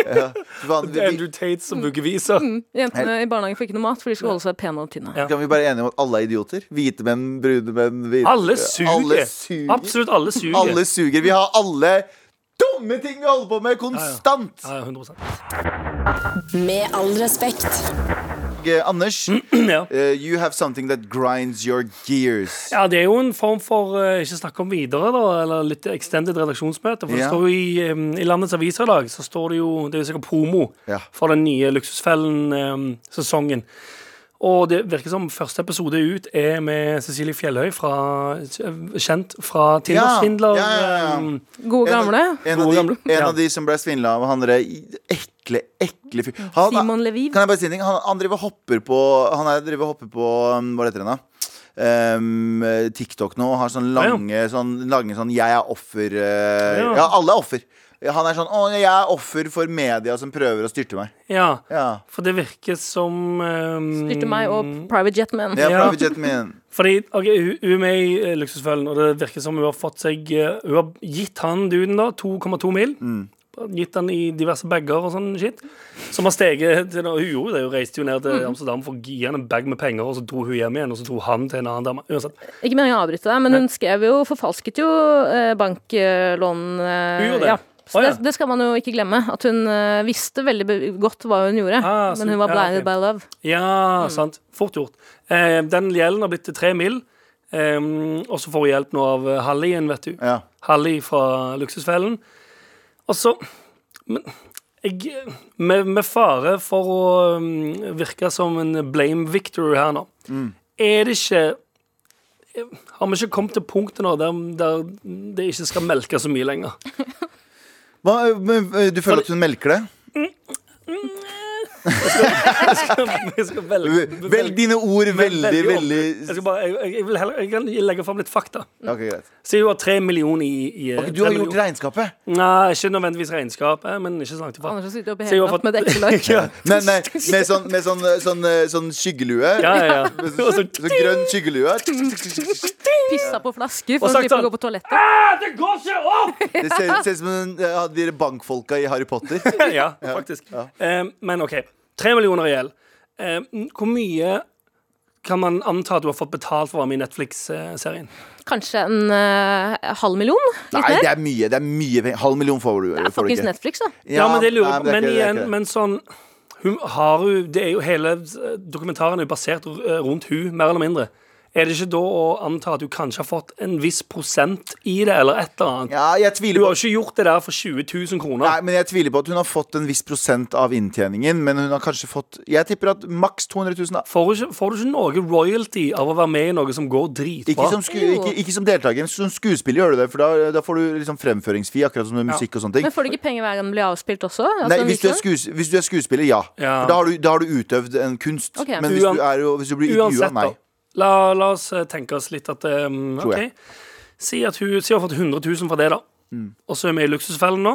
S2: Ja. Fy faen, vi, vi,
S3: Andrew Tate som vuggeviser.
S2: Mm.
S4: Jentene i barnehagen får ikke noe mat, for de skal holde seg pene og tynne.
S3: Ja.
S2: kan vi bare være enige om at alle er idioter? Hvite menn, brune menn, hvite
S3: Alle suger.
S2: Alle suger.
S3: Absolutt alle suger.
S2: Alle suger. Vi har alle dumme ting vi holder på med konstant!
S3: Ja, ja, 100
S5: Med all respekt.
S2: Eh, Anders,
S3: ja.
S2: eh, you have something that grinds your gears.
S3: ja, det er jo en form for eh, ikke snakke om videre, da, eller litt extended redaksjonsmøte. For det
S2: Ja.
S3: står jo i, eh, i landets aviser i dag, så står det jo Det er jo sikkert promo
S2: Ja.
S3: for den nye Luksusfellen-sesongen. Og det virker som første episode ut er med Cecilie Fjellhøy, fra, kjent fra Tinder-svindler.
S2: Ja, ja, ja, ja.
S3: eh,
S4: Gode gamle.
S2: En, av,
S3: Gode
S2: en, av
S3: gamle.
S2: de, en
S3: Ja.
S2: av de som ble svindla av han derre ekle, ekle fyr han,
S4: Simon Leviv.
S2: Kan jeg bare si en ting? Han, han driver og hopper på Han er, driver og hopper på um, Hva heter den, da? Um, TikTok nå og har sånn
S3: Ja, ja.
S2: lange, sånn, lange sånn 'jeg er offer' eh,
S3: Ja.
S2: Ja, alle er offer. Han er sånn 'Å, jeg er offer for media som prøver å styrte meg'.
S3: ja.
S2: Ja.
S3: For det virker som eh,
S4: Styrte meg og Private Jet Man.
S2: Det er
S3: Ja.
S2: private jeten min.
S3: Fordi ok, hun, hun er med i eh, Luksusfellen, og det virker som hun har fått seg eh, Hun har gitt han duden da 2,2 mil. Gitt han i diverse bager og sånn shit. Som har steget til noe. Hun gjorde det, hun reiste jo ned til Amsterdam for å gi han en bag med penger, og så dro hun hjem igjen, og så dro han til en annen dame. Uansett.
S4: Ikke meningen å avbryte deg, men hun skrev jo, forfalsket jo eh, banklån. eh,
S3: Hun gjorde det?
S4: Ja. Så
S3: Å, ja.
S4: det, det skal man jo ikke glemme. At hun eh, visste veldig be- godt hva hun gjorde,
S3: Ah, så-
S4: men hun var
S3: ja,
S4: blinded
S3: ok.
S4: by love.
S3: Ja, sant. Fort gjort. Eh, den gjelden har blitt til tre mil, eh, og så får hun hjelp nå av eh, Hallien, vet du.
S2: Ja.
S3: Halli fra Luksusfellen. Og så Men jeg med, med fare for å mm, virke som en blame victor her nå,
S2: Mm.
S3: er det ikke har vi ikke kommet til punktet nå der, der det ikke skal melke så mye lenger?
S2: Hva, men, eh, du føler at hun melker det?
S3: Jeg skal velge,
S2: Velg dine ord veldig,
S3: om.
S2: veldig
S3: Jeg, skal bare, jeg, jeg, vil heller, jeg kan legge fram litt fakta.
S2: Ok, greit.
S3: Si hun har tre millioner i, i eh,
S2: Ok, du har gjort regnskapet?
S3: Nei, ikke nødvendigvis regnskapet, men ikke så langt ifra.
S4: Anders har sittet oppe
S3: Så jeg
S4: hele
S3: har
S4: natt
S3: fått-
S4: med et ektelag.
S3: ja,
S2: Nei, nei, med sånn, med sånn, sånn, sånn skyggelue.
S3: ja, ja.
S2: Med
S3: Og
S2: så,
S3: så-
S2: så grønn skyggelue.
S4: Pissa på flasker
S3: Og
S4: for å
S3: sagt
S4: slippe å
S3: sånn.
S4: gå på toalettet.
S3: Det går ikke opp!
S2: Det ser ser ut som en, ja, de der bankfolka i Harry Potter.
S3: ja, faktisk. Eh, men OK. Tre millioner i gjeld. Eh, hvor mye kan man anta at du har fått betalt for å være med i Netflix-serien?
S4: Kanskje en eh, halv million? Litt
S2: Nei,
S4: mer?
S2: det er mye. det er mye penger. Halv million får du, får du
S4: Fuckings
S2: ikke.
S4: Netflix, da.
S3: Ja, men det lurer jeg på.
S2: nei,
S3: Men
S2: det er ikke-
S3: igjen,
S2: det er ikke det.
S3: men sånn hun har jo, Det er jo hele eh, dokumentaren er jo basert r- eh, rundt hun, mer eller mindre. Er det ikke da å anta at du kanskje har fått en viss prosent i det, eller et eller annet?
S2: Ja, jeg tviler
S3: Du
S2: på
S3: har jo ikke gjort det der for 20 000 kroner.
S2: Nei, men jeg tviler på at hun har fått en viss prosent av inntjeningen. Men hun har kanskje fått Jeg tipper at maks 200 000. da.
S3: Får du, ikke, får du ikke noe royalty av å være med i noe som går dritbra?
S2: Ikke som, sku,
S4: Jo.
S2: ikke, ikke som deltaker, men som skuespiller gjør du det. For da, da får du liksom fremføringsfri, akkurat som med musikk og sånne ting.
S4: Men får du ikke penger hver gang den blir avspilt også? Altså,
S2: Nei,
S4: en
S2: hvis du, er
S4: weekend?
S2: skues, hvis du er skuespiller, ja.
S3: Ja.
S2: For da har, du, da har du utøvd en kunst.
S4: Ok.
S2: Men hvis du,
S3: Uan-
S2: er, jo- hvis du blir intervjua
S3: Uansett,
S2: av
S3: da.
S2: meg
S3: La, la oss eh, tenke oss litt at um,
S2: Tror jeg.
S3: OK. Si at hun, si hun har fått 100 000 fra det, da.
S2: Mm.
S3: Og så er vi i Luksusfellen nå.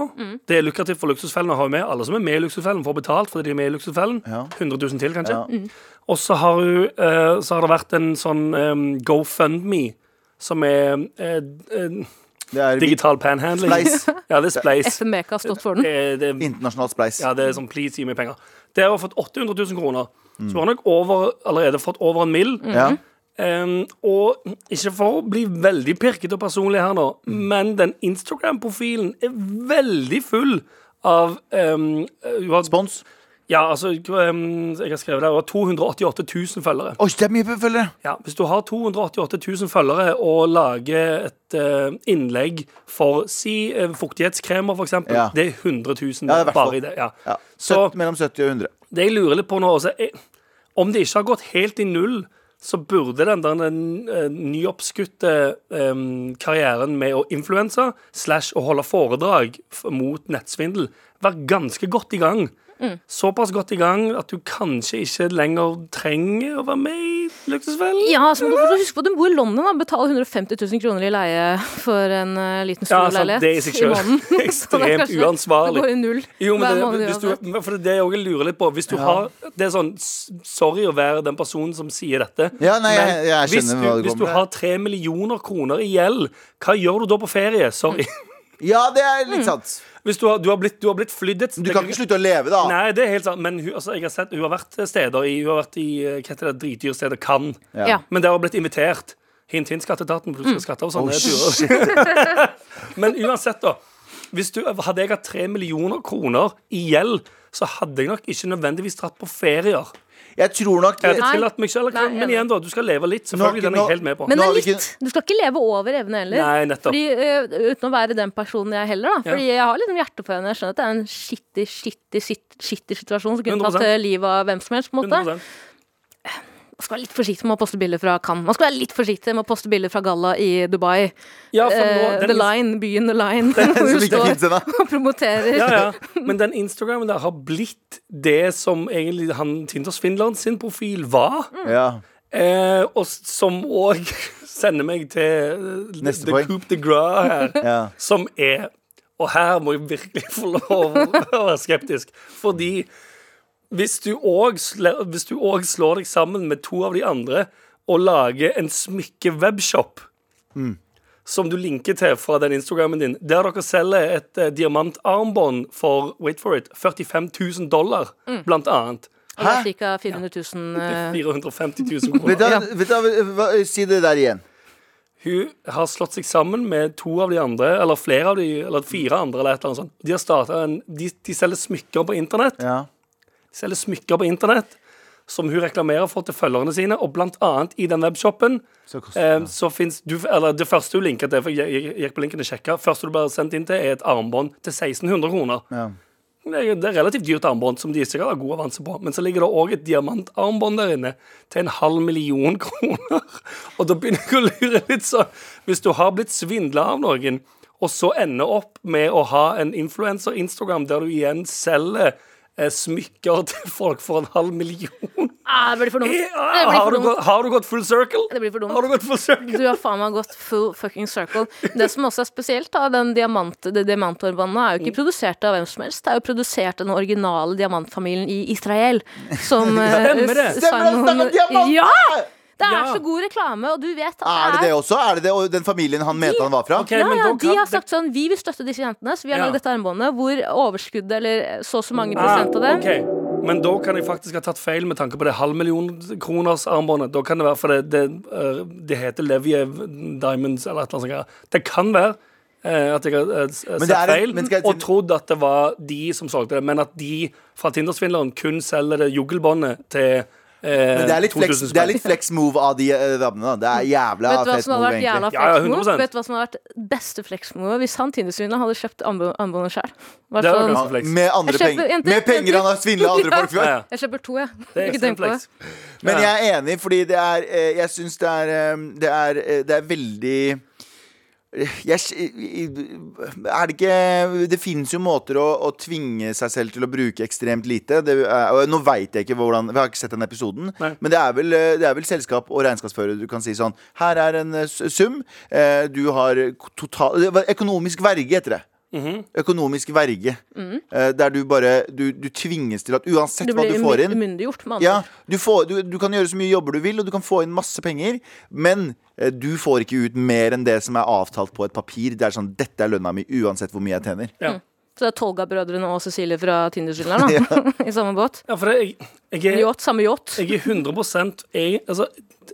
S3: Det er lukrativt for Luksusfellen å ha med. Alle som er med i Luksusfellen, får betalt fordi de er med i Luksusfellen.
S2: Ja.
S3: 100 000 til, kanskje.
S2: Ja.
S4: Mm.
S3: Og så har, hun, eh, så har det vært en sånn um, GoFundMe, som er eh, eh,
S2: Det er
S3: digital panhandling.
S2: Spleis.
S3: Ja, det er spleis.
S4: FMK har stått for den.
S3: Det, er- det, er-
S2: internasjonal spleis.
S3: ja, det er sånn please, gi meg penger. Der har hun fått 800 000 kroner.
S2: Mm.
S3: Så hun har nok over, allerede fått over en mill.
S4: Mm.
S2: Ja.
S3: Um, og ikke for å bli veldig pirket og personlig her nå, men den Instagram-profilen er veldig full av um, uh, hun har-
S2: Spons.
S3: Ja, altså, ehm, jeg har skrevet der, og 288 000 følgere.
S2: Oi, det er mye følgere!
S3: Ja, hvis du har 288 000 følgere og lager et eh, innlegg for si eh, fuktighetskremer, for eksempel,
S2: Ja.
S3: det er 100 000
S2: Ja, i hvert fall.
S3: bare i det. Ja.
S2: Ja.
S3: Så-
S2: Søtt- mellom 70 og 100.
S3: Det jeg lurer litt på nå, også, er, om det ikke har gått helt i null, så burde den der eh, nyoppskutte eh, karrieren med å influense slash å holde foredrag f- mot nettsvindel være ganske godt i gang. Såpass godt i gang at du kanskje ikke lenger trenger å være med i Lykkesfellen.
S4: Ja, altså, så må du huske på at hun bor i London og betaler 150 000 kroner i leie for en eh, liten
S3: Ja, sant,
S4: storleilighet
S3: det i seg selv.
S4: måneden. Så det er
S3: Ekstremt
S4: kanskje-
S3: uansvarlig.
S4: Det går i null
S3: Jo, men
S4: hver
S3: det,
S4: måned
S3: hvis du,
S4: uansett.
S3: men for det er jo jeg lurer litt på Hvis du har Det er sånn s- Sorry å være den personen som sier dette.
S2: Ja, nei, jeg- jeg
S3: hvis,
S2: skjønner
S3: du,
S2: hva det
S3: hvis
S2: kommer
S3: du
S2: fra.
S3: har tre millioner kroner i gjeld, hva gjør du da på ferie? Sorry.
S2: Ja, det er
S4: Mm.
S2: litt sant.
S3: Hvis du har, du har, blitt, du har blitt flydd et
S2: Du kan ikke slutte å leve, da.
S3: Nei, det er helt sant. Men hun, altså, jeg har sett, hun har vært steder i Hun har vært i eh, hva heter det, dritdyrstedet Cannes.
S2: Ja.
S4: Ja.
S3: Men der har hun blitt invitert. Hint, hint, skatteetaten. for Du
S2: Mm.
S3: skal skatte av sånne turer. Men uansett, da. Hvis du, hadde jeg hatt tre millioner kroner i gjeld, så hadde jeg nok ikke nødvendigvis dratt på ferier.
S2: Jeg tror nok
S3: Jeg hadde
S4: Nei.
S3: tillatt meg selv,
S4: Nei,
S3: men
S4: enig.
S3: igjen, da. Du skal leve litt. Selvfølgelig.
S2: Nå-
S3: Den er
S2: nå-
S3: jeg helt med på.
S4: Men
S2: Nå
S4: det
S2: har
S4: er
S2: vi
S4: litt. Du skal ikke leve over evne heller.
S3: Nei, nettopp.
S4: Fordi, eh, uten å være den personen jeg heller, da. Fordi jeg har litt hjerte for henne. Jeg skjønner at det er en skittig, skittig, skittig, skittig situasjon som kunne
S3: 100%.
S4: tatt eh, livet av hvem som helst. på en måte
S3: 100%.
S4: Man skal være litt forsiktig med å poste bilder fra Cannes. Man skal være litt forsiktig med å poste bilder fra galla i Dubai.
S3: Ja, for nå,
S4: Eh,
S3: den
S4: the
S3: ins-
S4: Line, byen The Line.
S2: Som
S4: Hvor hun
S2: ikke finnes
S4: står
S2: ennå.
S4: og promoterer.
S3: ja, ja. Men den Instagramen der har blitt det som egentlig han Tinder-svindleren sin profil var.
S4: Mm.
S2: Ja.
S3: Eh, og s- som òg sender meg til eh,
S2: Neste
S3: The
S2: poeng.
S3: Coup de Gras her,
S2: Ja.
S3: som er Og her må jeg virkelig få lov å være skeptisk, fordi hvis du òg sl- hvis du òg slår deg sammen med to av de andre og lager en smykke-webshop som du linker til fra den Instagrammen din, der dere selger et eh, diamantarmbånd for wait for it, 45 000 dollar, blant annet.
S4: Og det er ca. 400 000 eh,
S3: 450 000 kroner.
S2: Vet du, vet du, hva- si det der igjen.
S3: Hun har slått seg sammen med to av de andre, eller flere av de, eller fire andre, eller et eller annet sånt. De har startet en, de, de selger smykker på internett.
S2: Ja.
S3: De selger smykker på internett, som hun reklamerer for til følgerne sine, og blant annet i den webshoppen,
S2: Så koster det,
S3: eh, så finnes, du, eller det første hun linket til, for jeg, jeg, jeg gikk på linken og sjekket, første du blir sendt inn til er et armbånd til 1600 kroner.
S2: Ja.
S3: Det er, det er relativt dyrt armbånd, som de sikkert har god avanse på. Men så ligger det òg et diamantarmbånd der inne til en halv million kroner. Og da begynner jeg å lure litt sånn Hvis du har blitt svindla av noen, og så ender opp med å ha en influenser-instagram der du igjen selger eh, smykker til folk for en halv million
S4: ah, Det blir for dumt.
S3: Eh,
S4: Det blir
S3: Har
S4: for
S3: du,
S4: dumt.
S3: gått, har du gått full circle?
S4: Det blir for dumt.
S3: Har du gått full circle?
S4: Du har faen meg gått full fucking circle. Det som også er spesielt, da, den diamant, det diamantorbandet er jo
S3: Mm.
S4: ikke produsert av hvem som helst. Det er jo produsert av den originale diamantfamilien i Israel. Som eh,
S3: Stemmer det.
S4: s-
S2: Stemmer det,
S4: Simon-
S2: snakk om diamant!
S4: Ja! Det er
S3: Ja. Ah,
S4: så god reklame, og du vet at
S2: Er det det også? Er det det og den familien han mente han var fra?
S3: Ok,
S4: ja,
S3: men
S4: ja,
S3: da
S4: de
S3: kan-
S4: har sagt sånn Vi vil støtte disse jentene, så vi har
S3: Ja.
S4: lagd dette armbåndet hvor overskuddet, eller så og så mange
S3: Ah,
S4: prosent av det
S3: ok. Men da kan jeg faktisk ha tatt feil med tanke på det halv million kroners armbåndet. Da kan det være fordi det, eh, det heter Leviev Diamonds eller et eller annet sånt. Det kan være eh, at jeg har eh, s-
S2: det
S3: sett
S2: er en-
S3: feil
S2: men skal jeg-
S3: og trodd at det var de som solgte det, men at de fra Tindersvindleren kun selger det juggelbåndet til eh,
S2: Men det er litt flex,
S3: 2000
S2: det er litt flex move av de eh, damene. da. Det er jævla
S4: Vet du hva
S2: fett
S4: som hadde
S2: move,
S4: vært jævla
S2: egentlig.
S3: Ja, ja,
S4: flex move?
S3: 100%.
S4: Vet du hva som hadde vært beste flex move? Hvis han Tindersvindleren hadde kjøpt armbå- armbåndet sjøl.
S3: Det hadde vært ganske flex.
S2: Med andre
S4: Jeg kjøper
S2: penger.
S4: jenter,
S2: Med penger
S4: jenter.
S2: han har svindla andre folk for.
S3: Ja, ja.
S4: Jeg kjøper to, jeg.
S3: Det er
S4: Ikke
S3: ekstremt
S4: tenk på det.
S3: flex.
S2: Men
S3: Ja.
S2: jeg er enig, fordi det er eh, Jeg syns det er eh, Det er, eh, det er veldig jeg, s- i- i- er det ikke Det fins jo måter å, å tvinge seg selv til å bruke ekstremt lite. Det er, og nå veit jeg ikke hvordan Jeg har ikke sett den episoden.
S3: Nei.
S2: Men det er, vel, eh, det er vel selskap og regnskapsfører du kan si sånn Her er en eh, s- sum. eh, Du har total det var Økonomisk verge, heter det.
S3: Mhm.
S2: Økonomisk verge. Eh, Der du bare du, du tvinges til at uansett
S4: Mhm. Du
S2: hva
S4: blir
S2: du får
S4: umy-
S2: inn
S4: umyndiggjort, med andre
S2: ja,
S4: ord.
S2: du, får, du, du kan gjøre så mye jobber du vil, og du kan få inn masse penger, men eh, du får ikke ut mer enn det som er avtalt på et papir. Det er sånn, Dette er lønna mi uansett hvor mye jeg tjener.
S4: Så det er Tolga-brødrene og Cecilie fra Tindersvindleren da, i samme båt.
S3: Ja, for det, jeg, jeg er
S4: Yacht, samme yacht.
S3: jeg er 100 jeg, altså,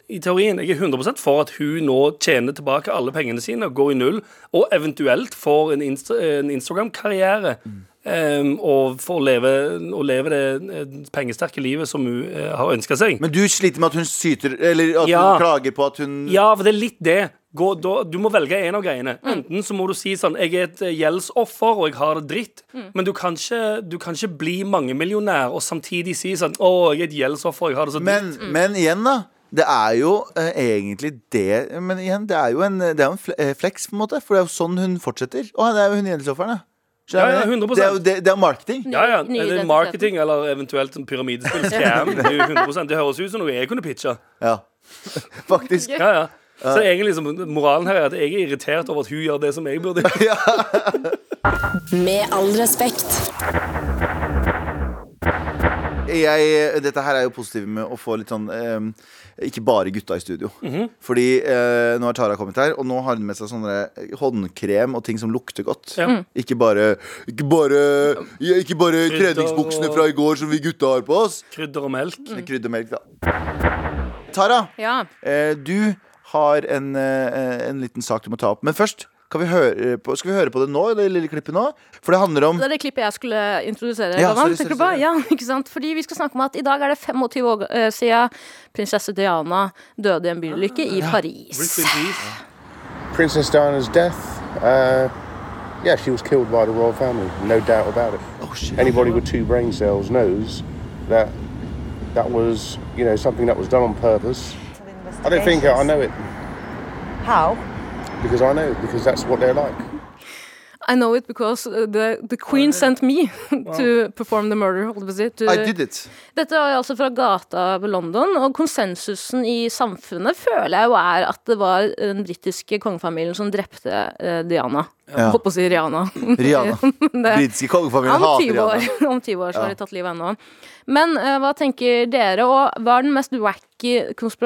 S3: I teorien jeg er 100 for at hun nå tjener tilbake alle pengene sine og går i null, og eventuelt får en, inst en Instagram-karriere eh, og får leve, og leve det eh, pengesterke livet som hun eh, har ønska seg.
S2: Men du sliter med at hun syter Eller at
S3: Ja.
S2: hun klager på at hun
S3: Ja, for det er litt det. Gå, da, du må velge en av greiene. Enten så må du si sånn Jeg er et eh, gjeldsoffer, og jeg har det dritt. Men du kan, ikke, du kan ikke bli mangemillionær og samtidig si sånn Å, jeg er et gjeldsoffer, jeg har det så dritt.
S2: Men, men igjen, da. Det er jo eh, egentlig det Men igjen, det er jo en, det er jo en fle- eh, flex, på en måte. For det er jo sånn hun fortsetter. Å, det er jo hun gjeldsofrene.
S3: Ja, ja, 100%.
S2: Det er jo det, det er marketing.
S3: Ja, ja.
S4: Ny
S3: Eller
S4: identitet.
S3: marketing eller eventuelt en pyramidespill. Scam. Det, er jo 100%. det høres ut som noe jeg kunne pitcha.
S2: Ja. Faktisk.
S3: Ja, ja. Så egentlig så moralen her er at jeg er irritert over at hun gjør det som jeg burde gjøre.
S5: Med all respekt.
S2: jeg, dette her er jo positivt med å få litt sånn eh, Ikke bare gutta i studio. Fordi eh, nå har Tara kommet her, og nå har hun med seg sånne håndkrem og ting som lukter godt.
S3: Ja. Mm.
S2: Ikke bare Ikke bare, ja, ikke bare
S3: Krydder
S2: treningsbuksene
S3: og-
S2: fra i går som vi gutta har på oss.
S3: Krydder og melk.
S2: Eller kryddermelk, da. Tara,
S4: Ja.
S2: eh, du har en, eh, en liten sak du må ta opp. Men først kan vi høre på, skal vi høre på det nå, det lille klippet nå? For det handler om
S4: Det er det klippet jeg skulle
S2: Ja,
S4: introdusere. Ja,
S2: sorry, sorry, sorry.
S4: ja, ikke sant? Fordi vi skal snakke om at i dag er det 25 år eh, siden prinsesse Diana døde i en bilulykke i Paris.
S3: Rest in peace.
S6: Princess Diana's death, uh, yeah, she was killed by the royal family, no doubt about it.
S2: Oh, shit.
S6: Anybody with two brain cells knows that that was, you know, something that was done on purpose. I don't think uh, I know it
S7: How?
S6: because I know because that's what they're like.
S4: I know it because uh, the, the queen sent me to perform the murder. holdt jeg på å si, to-
S2: I did it.
S4: Dette er altså fra gata ved London, og konsensusen i samfunnet føler jeg jo er at det var den britiske kongefamilien som drepte eh, Diana.
S2: Ja.
S4: Holdt på å si Rihanna.
S2: Rihanna.
S4: Det-
S2: Britiske kongefamilien
S4: om
S2: hater
S4: 20
S2: Rihanna.
S4: år, om 20 år så har de tatt livet av henne. Men eh, hva tenker dere, og hva er den mest wacky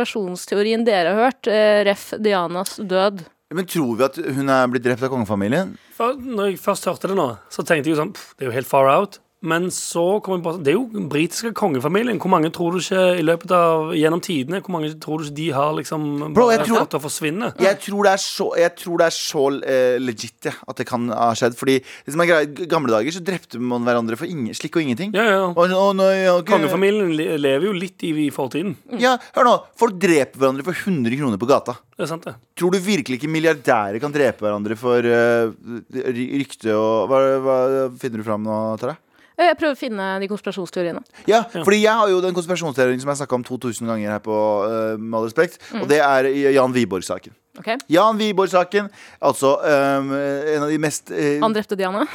S4: konspirasjonsteorien dere har hørt? eh, ref. Dianas død.
S2: Men tror vi at hun er blitt drept av kongefamilien?
S3: For når jeg først hørte det nå, så tenkte jeg jo sånn pff, Det er jo helt far out. Men så kom jeg på at Det er jo den britiske kongefamilien. Hvor mange tror du ikke i løpet av gjennom tidene Hvor mange tror du ikke de har liksom
S2: Bro, jeg
S3: bare
S2: tror-
S3: fått å forsvinne?
S2: Jeg tror det er så, jeg tror det er så eh, legit ja, at det kan ha skjedd. Fordi det som er greia, I gamle dager så drepte man hverandre for ingen, slikk og ingenting.
S3: Ja, ja.
S2: Og, å, nei, jeg har ikke-
S3: Kongefamilien le- lever jo litt i, i fortiden.
S2: ja, hør nå, Folk dreper hverandre for 100 kroner på gata.
S3: Det er sant, det.
S2: Tror du virkelig ikke milliardærer kan drepe hverandre for eh, ry- rykte og hva, hva finner du fram nå, Tara?
S4: Eh, Jeg prøver å finne de konspirasjonsteoriene.
S2: Ja, fordi jeg har jo den konspirasjonsteorien som jeg snakka om 2000 ganger her på eh, Med all respekt,
S3: Mm.
S2: og det er Jan Wiborg-saken.
S4: Ok?
S2: Jan Wiborg-saken, altså eh, en av de mest eh,
S4: Han drepte Diana.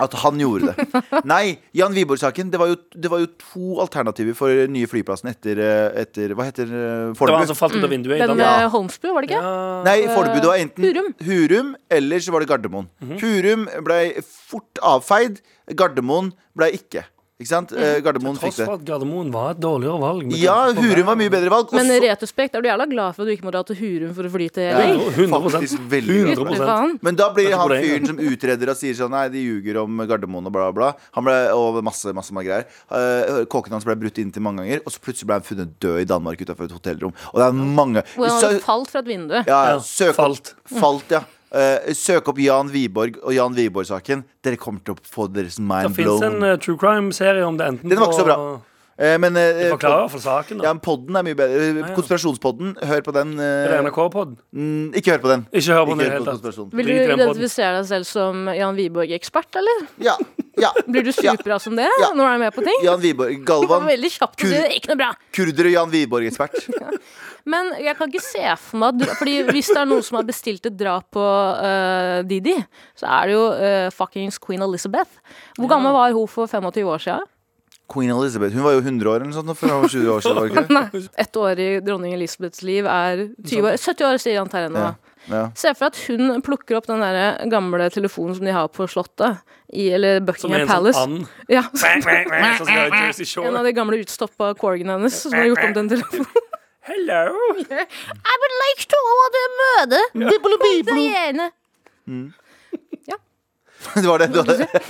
S2: At han gjorde det. Nei, Jan Wiborg-saken. Det, var jo- det var jo to alternativer for den nye flyplassen etter, eh, etter Hva heter eh,
S3: Det var
S2: Fornebu?
S3: altså han som falt ut av vinduet. i
S4: Den
S3: Danmark.
S4: med Holmsbu, var det ikke?
S2: Nei, Fornebu. Det var enten
S4: Hurum.
S2: Hurum eller så var det Gardermoen.
S3: Mhm.
S2: Hurum ble fort avfeid. Gardermoen ble ikke. Ikke sant?
S4: Mm.
S2: Eh, Gardermoen fikk
S3: Tross for
S2: det.
S3: at Gardermoen var et dårligere valg. med
S2: Ja,
S3: tanke på
S2: Hurum var
S3: været.
S2: mye bedre valg. og
S4: Men
S2: så-
S4: retrospekt, er du jævla glad for at du ikke må dra til Hurum for å fly til
S2: Ja,
S4: LA?
S3: 100%.
S2: faktisk veldig bra.
S4: Fy faen.
S2: Men da blir
S3: Dette
S2: han
S3: burde jeg
S2: fyren som utreder og sier sånn Nei, de ljuger om Gardermoen og bla, bla, bla. Han ble over masse, masse masse greier. Eh, Kåken hans ble brutt inntil mange ganger, og så plutselig ble han funnet død i Danmark utenfor et hotellrom. Og det er mange
S4: Hvor han hadde
S2: Sø-
S4: falt fra et vindu.
S2: ja, ja,
S3: Mm. Ja,
S2: søk
S3: falt.
S2: Opp, falt, ja. Eh, søk opp Jan Wiborg og Jan Wiborg-saken. Dere kommer til å få deres
S3: Det
S2: mind
S3: fins
S2: blown.
S3: en eh, true crime-serie om det enten
S2: Den var ikke så bra. Eh, men eh,
S3: Det forklarer i hvert fall saken.
S2: ja,
S3: Da.
S2: men podden er mye bedre. Eh, Konspirasjonspodden, hør på den. eh,
S3: Er det NRK-pod?
S2: mm, ikke hør på den.
S3: Ikke hør på den i
S2: Ikke
S3: det
S2: hør på
S3: hele tatt.
S2: konspirasjon.
S4: Vil du
S3: Drit i den podden.
S4: identifisere deg selv som Jan Wiborg-ekspert, eller?
S2: Ja, ja.
S4: Blir du
S2: Ja.
S4: supra som det
S2: Ja.
S4: når du er med på ting?
S2: Jan Wiborg,
S4: Du
S2: Galvan
S4: kommer veldig kjapt til å si
S2: Kur-
S4: det er ikke noe bra.
S2: Kurder og Jan Wiborg-ekspert.
S4: Men jeg kan ikke se for meg at du, Fordi hvis det er noen som har bestilt et drap på øh, Didi, så er det jo øh, fuckings queen Elizabeth. Hvor gammel var hun for 25 år siden?
S2: Queen Elizabeth hun var jo 100 år eller noe sånt nå, for hun var 20 år siden. var det ikke det?
S4: Ett år i dronning Elizabeths liv er 20 år, 70 år, sier han Terje nå.
S2: Ja. Ja.
S4: Se for deg at hun plukker opp den der eh, gamle telefonen som de har på Slottet, i, eller
S3: Som er en sånn
S4: Buckingham Palace.
S3: and.
S4: Ja,
S3: Sånn som er Jersey
S4: en
S3: Shore.
S4: av de gamle utstoppa corgene hennes som har gjort om den telefonen.
S3: Hello!
S4: I would like to order møte Diana.
S2: Det var det. det, var det.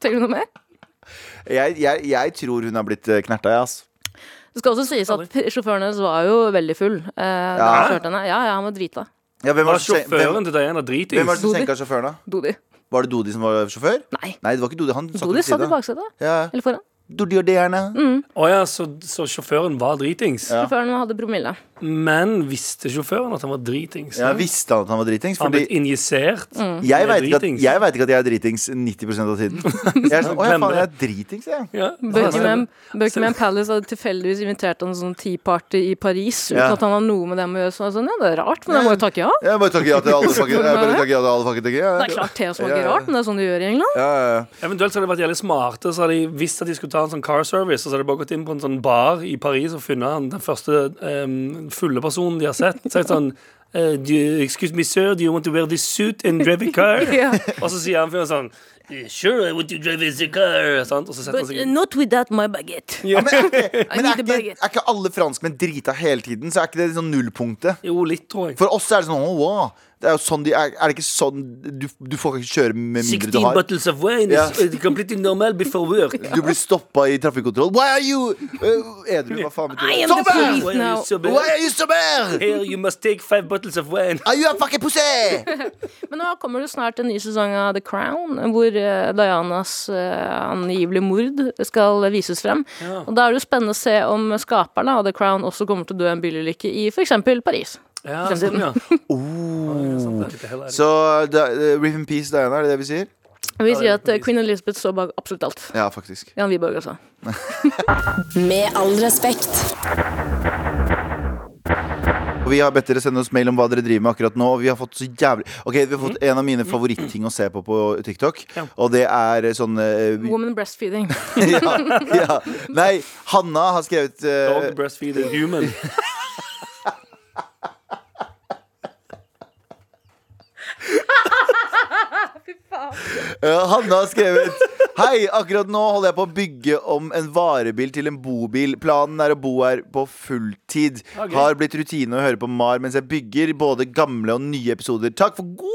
S4: Tenker du noe mer?
S2: Jeg, jeg, jeg tror hun er blitt eh, knerta, jeg, altså.
S4: Det skal også sies at p- sjåføren hennes var jo veldig full. Eh, da han kjørte henne. Ja, ja, han var drita.
S2: Ja, hvem var
S3: Var
S2: det som sen- hvem-
S3: sjåføren til Diana drit i?
S2: hvem var det som senka sjåføren, da?
S4: Dodi.
S2: Var det Dodi som var sjåfør?
S4: Nei.
S2: Nei, det var ikke Dodi. Han satt
S4: Dodi
S2: ved
S4: satt Mm. i
S2: siden av.
S4: baksetet.
S2: Ja.
S4: Eller foran.
S2: Dodi og det gjerne.
S3: Å ja, så, så sjåføren var dritings.
S2: Ja.
S4: Sjåføren hadde promille.
S3: Men visste sjåføren at han var dritings?
S2: Jeg visste han at han var dritings.
S3: Har han
S2: Fordi
S3: blitt injisert?
S4: Mm.
S2: jeg
S3: Han er
S2: vet, ikke at,
S3: dritings.
S2: jeg vet ikke at jeg er dritings 90 av tiden. Jeg er sånn, Å ja, faen, jeg er dritings, jeg.
S3: Ja.
S4: Buckingham, Buckingham Palace hadde tilfeldigvis invitert han til en sånn tea party i Paris uten
S2: Ja.
S4: at han hadde noe med dem å gjøre. Så han var sånn, ja, det er rart, men jeg må jo takke ja.
S2: Jeg bare takker ja til alle fucking- jeg bare takker ja til alle fucking ting.
S4: Det er
S2: Ja,
S4: klart te
S2: Ja,
S4: smaker
S2: ja.
S4: rart, men det er sånn de gjør i England.
S2: ja, ja.
S3: Eventuelt så hadde de vært jævlig smarte, så hadde de visst at de skulle ta en sånn car service, og så hadde de bare gått inn på en sånn bar i Paris og funnet han, den første em, fulle personen de har sett. Så er det sånn eh, do you- Excuse me, sir, do you want to wear this suit and drive a car?
S4: Ja.
S3: Og så sier han fyren sånn eh, Sure, I want to drive this car. Sant? Og så setter han
S4: But uh, eh,
S3: seg
S4: not without my baguette. I
S2: Men er
S4: need a
S2: ikke,
S4: baguette.
S2: er ikke alle franskmenn drita hele tiden? Så er ikke det sånn nullpunktet?
S3: Jo, litt, tror jeg.
S2: For oss er det sånn, «Å, wow. det er, jo sånn de, er, er det ikke sånn du, du får ikke kjøre med mindre du
S3: 16
S2: har
S3: bottles of wine
S2: Ja.
S3: is uh, completely normal before work.
S2: Du blir stoppa i trafikkontroll Why are you uh, Edru, hva faen betyr
S4: I
S2: det?
S4: am the
S2: Sober!
S4: police
S3: Why are
S4: now.
S3: you sober?
S2: Why are you sober?
S3: Here you must take five bottles of wine.
S2: Are you a fucking pussy?
S4: Men nå kommer det snart en ny sesong av The Crown, hvor eh, Dianas eh, angivelige mord skal vises frem. Og da er det jo spennende å se om skaperne av The Crown også kommer til å dø i en bilulykke i f.eks. Paris.
S3: Ja, sånn, ja. Oh.
S2: Så da, eh, Rip in peace, Diana, er det det vi sier?
S4: Vi sier at eh, Queen Elizabeth så bak absolutt alt.
S2: Ja, faktisk
S4: Jan Wiborg altså. også.
S5: Med all respekt.
S2: Og vi har bedt dere sende oss mail om hva dere driver med akkurat nå Og vi har fått så jævlig Ok, vi har fått
S4: Mm.
S2: en av mine favorittting å se på på TikTok Og det er sånn eh,
S4: Woman breastfeeding.
S2: ja, ja. Nei, Hanna har skrevet eh,
S3: Dog breastfeed a human.
S2: Ja, Eh, Hanna har skrevet Hei, akkurat nå holder jeg på å bygge om en varebil til en bobil. Planen er å bo her på fulltid.
S3: Ok.
S2: Har blitt rutine å høre på MAR mens jeg bygger både gamle og nye episoder. Takk for god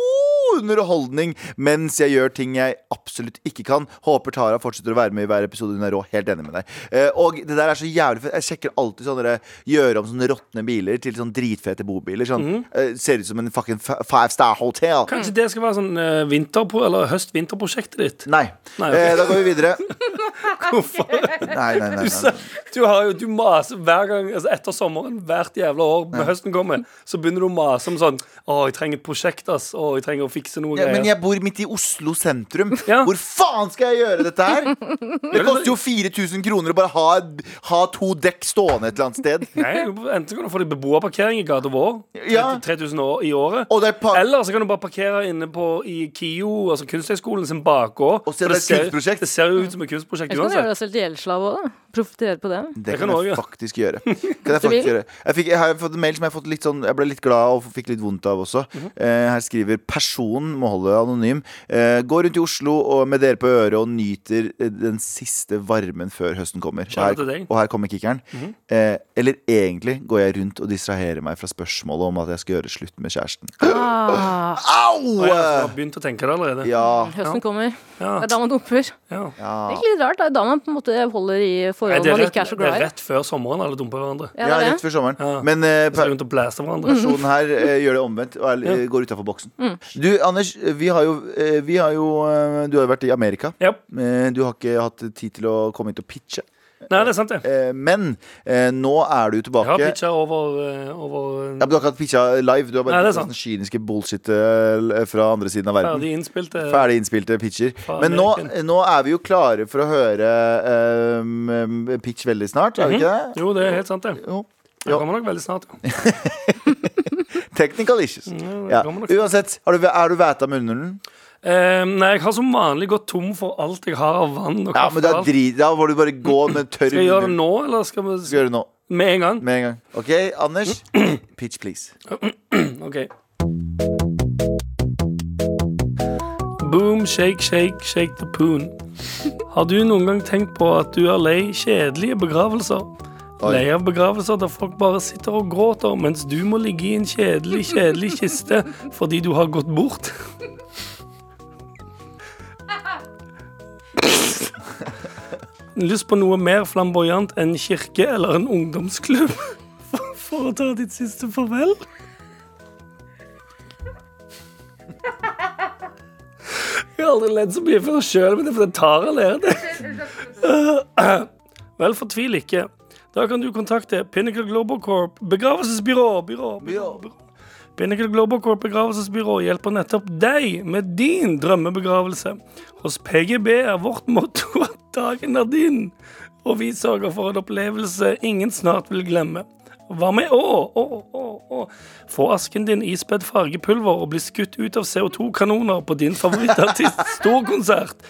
S2: underholdning mens jeg gjør ting jeg absolutt ikke kan. Håper Tara fortsetter å være med i hver episode. Hun er rå. Helt enig med deg. Eh, og det der er så jævlig fett. Jeg sjekker alltid sånne der- gjøre om sånne råtne biler til sånn dritfete bobiler. Sånn, eh, ser ut som en fucking fa- five star hotel.
S3: Kanskje det skal være sånn eh, vinterpro- eller høst-vinterprosjektet ditt?
S2: Nei.
S3: Nei, ok.
S2: eh, da går vi videre.
S3: Hvorfor?
S2: Nei, nei, nei, nei.
S3: Så, du, har jo, du maser hver gang altså etter sommeren, hvert jævla år når høsten kommer, så begynner du å mase om sånn Å, jeg trenger et prosjekt, ass. Å, jeg trenger å fikse noe
S2: Ja,
S3: greier.
S2: men jeg bor midt i Oslo sentrum.
S3: Ja.
S2: Hvor faen skal jeg gjøre dette her? Det koster jo 4000 kroner å bare ha, ha to dekk stående et eller annet sted.
S3: Nei, Enten kan du få deg beboerparkering i gata vår,
S2: Ja.
S3: 3000 år i året.
S2: Og det er par
S3: Eller så kan du bare parkere inne på i KIO, altså Kunsthøgskolen sin bakgård.
S2: Og se,
S3: For
S2: det er et
S3: ser-
S2: kunstprosjekt.
S3: Det ser jo ut som et kunstprosjekt
S4: Jeg skal gjøre
S3: uansett.
S4: deg selv til gjeldsslave òg, da. Profitere på det.
S2: det
S3: jeg
S2: kan
S3: kan også
S2: jeg
S3: gjøre.
S2: faktisk gjøre. Kan jeg, faktisk
S4: vil.
S2: gjøre. Jeg, fikk, jeg har fått en mail som jeg, har fått litt sånn, jeg ble litt glad og fikk litt vondt av også. eh, her skriver personen, må holde anonym, eh, går rundt i Oslo og med dere på øret og nyter eh, den siste varmen før høsten kommer. Og
S3: Kjære til
S2: her,
S3: deg.
S2: og her kommer kickeren. eh, eller egentlig går jeg rundt og distraherer meg fra spørsmålet om at jeg skal gjøre slutt med kjæresten.
S4: Ah,
S2: Au!
S3: Og jeg har begynt å tenke det allerede.
S2: Ja.
S4: høsten kommer.
S3: Ja.
S4: Det er da man dumper.
S3: Ja.
S4: Det er egentlig litt rart. Det er da man på en måte holder i
S3: Nei,
S4: forhold
S3: det, er
S4: man
S3: rett,
S4: ikke er så
S3: det
S4: glad
S3: er
S4: i.
S3: rett før sommeren alle dumper hverandre.
S4: Ja,
S2: ja,
S4: det er
S2: rett
S4: det.
S2: før sommeren.
S3: Ja.
S2: Men eh,
S3: Så er det
S2: per-
S3: rundt og blæser
S4: Mhm.
S3: hverandre.
S2: personen her eh, gjør det omvendt og er, eh, går utafor boksen.
S3: Mm.
S2: Du, Anders, vi har jo, eh, vi har jo eh, Du har jo vært i Amerika.
S3: Ja.
S2: Eh, Du har ikke hatt tid til å komme hit og pitche.
S3: Nei, det er sant, det.
S2: Eh, Men eh, nå er du
S3: Jeg har
S2: tilbake.
S3: pitcha over, eh, over
S2: Ja, men Du har ikke hatt pitcha live. Du har
S3: Nei,
S2: bare
S3: det er
S2: pitcha
S3: sant.
S2: sånn kyniske bullshit eh, fra andre siden av verden.
S3: ferdig innspilt eh,
S2: Ferdig innspilte pitcher.
S3: Faen,
S2: Men nå,
S3: Ameriken.
S2: nå er vi jo klare for å høre eh, pitch veldig snart,
S3: Mhm.
S2: er vi ikke det?
S3: Mm. Jo, det er helt sant, det.
S2: Jo.
S3: Det kommer nok veldig snart. ja.
S2: Technical issues.
S3: det
S2: Ja.
S3: kommer Mm. nok.
S2: Uansett, har du, er du væta med underhunden?
S3: Eh, nei, jeg har som vanlig gått tom for alt jeg har av vann og
S2: Ja,
S3: kaffe.
S2: men da,
S3: og alt.
S2: drit, da må du bare gå med tørr
S3: skal jeg gjøre det
S2: munnhull.
S3: nå, eller skal vi
S2: Skal gjøre det nå
S3: Med en gang?
S2: med en gang. OK, Anders. Pitch, please.
S3: OK. Boom, shake, shake, shake the poon. Har du noen gang tenkt på at du er lei kjedelige begravelser?
S2: Oi.
S3: Lei av begravelser der folk bare sitter og gråter, mens du må ligge i en kjedelig, kjedelig kiste fordi du har gått bort? Lyst på noe mer flamboyant enn kirke eller en ungdomsklubb for, for å ta ditt siste farvel? Ja, Jeg har aldri ledd så mye for meg sjøl, men det er fordi Tara ler det. Vel, fortvil ikke. Da kan du kontakte Pinnacle Global Corp begravelsesbyrå. Byrå, byrå, byrå. Pinnacle Global Corp begravelsesbyrå hjelper nettopp deg med din drømmebegravelse. Hos PGB er vårt motto at dagen er din, og vi sørger for en opplevelse ingen snart vil glemme. Hva med å, å, å, å Få asken din ispedd fargepulver og bli skutt ut av CO2-kanoner på din favorittartists storkonsert.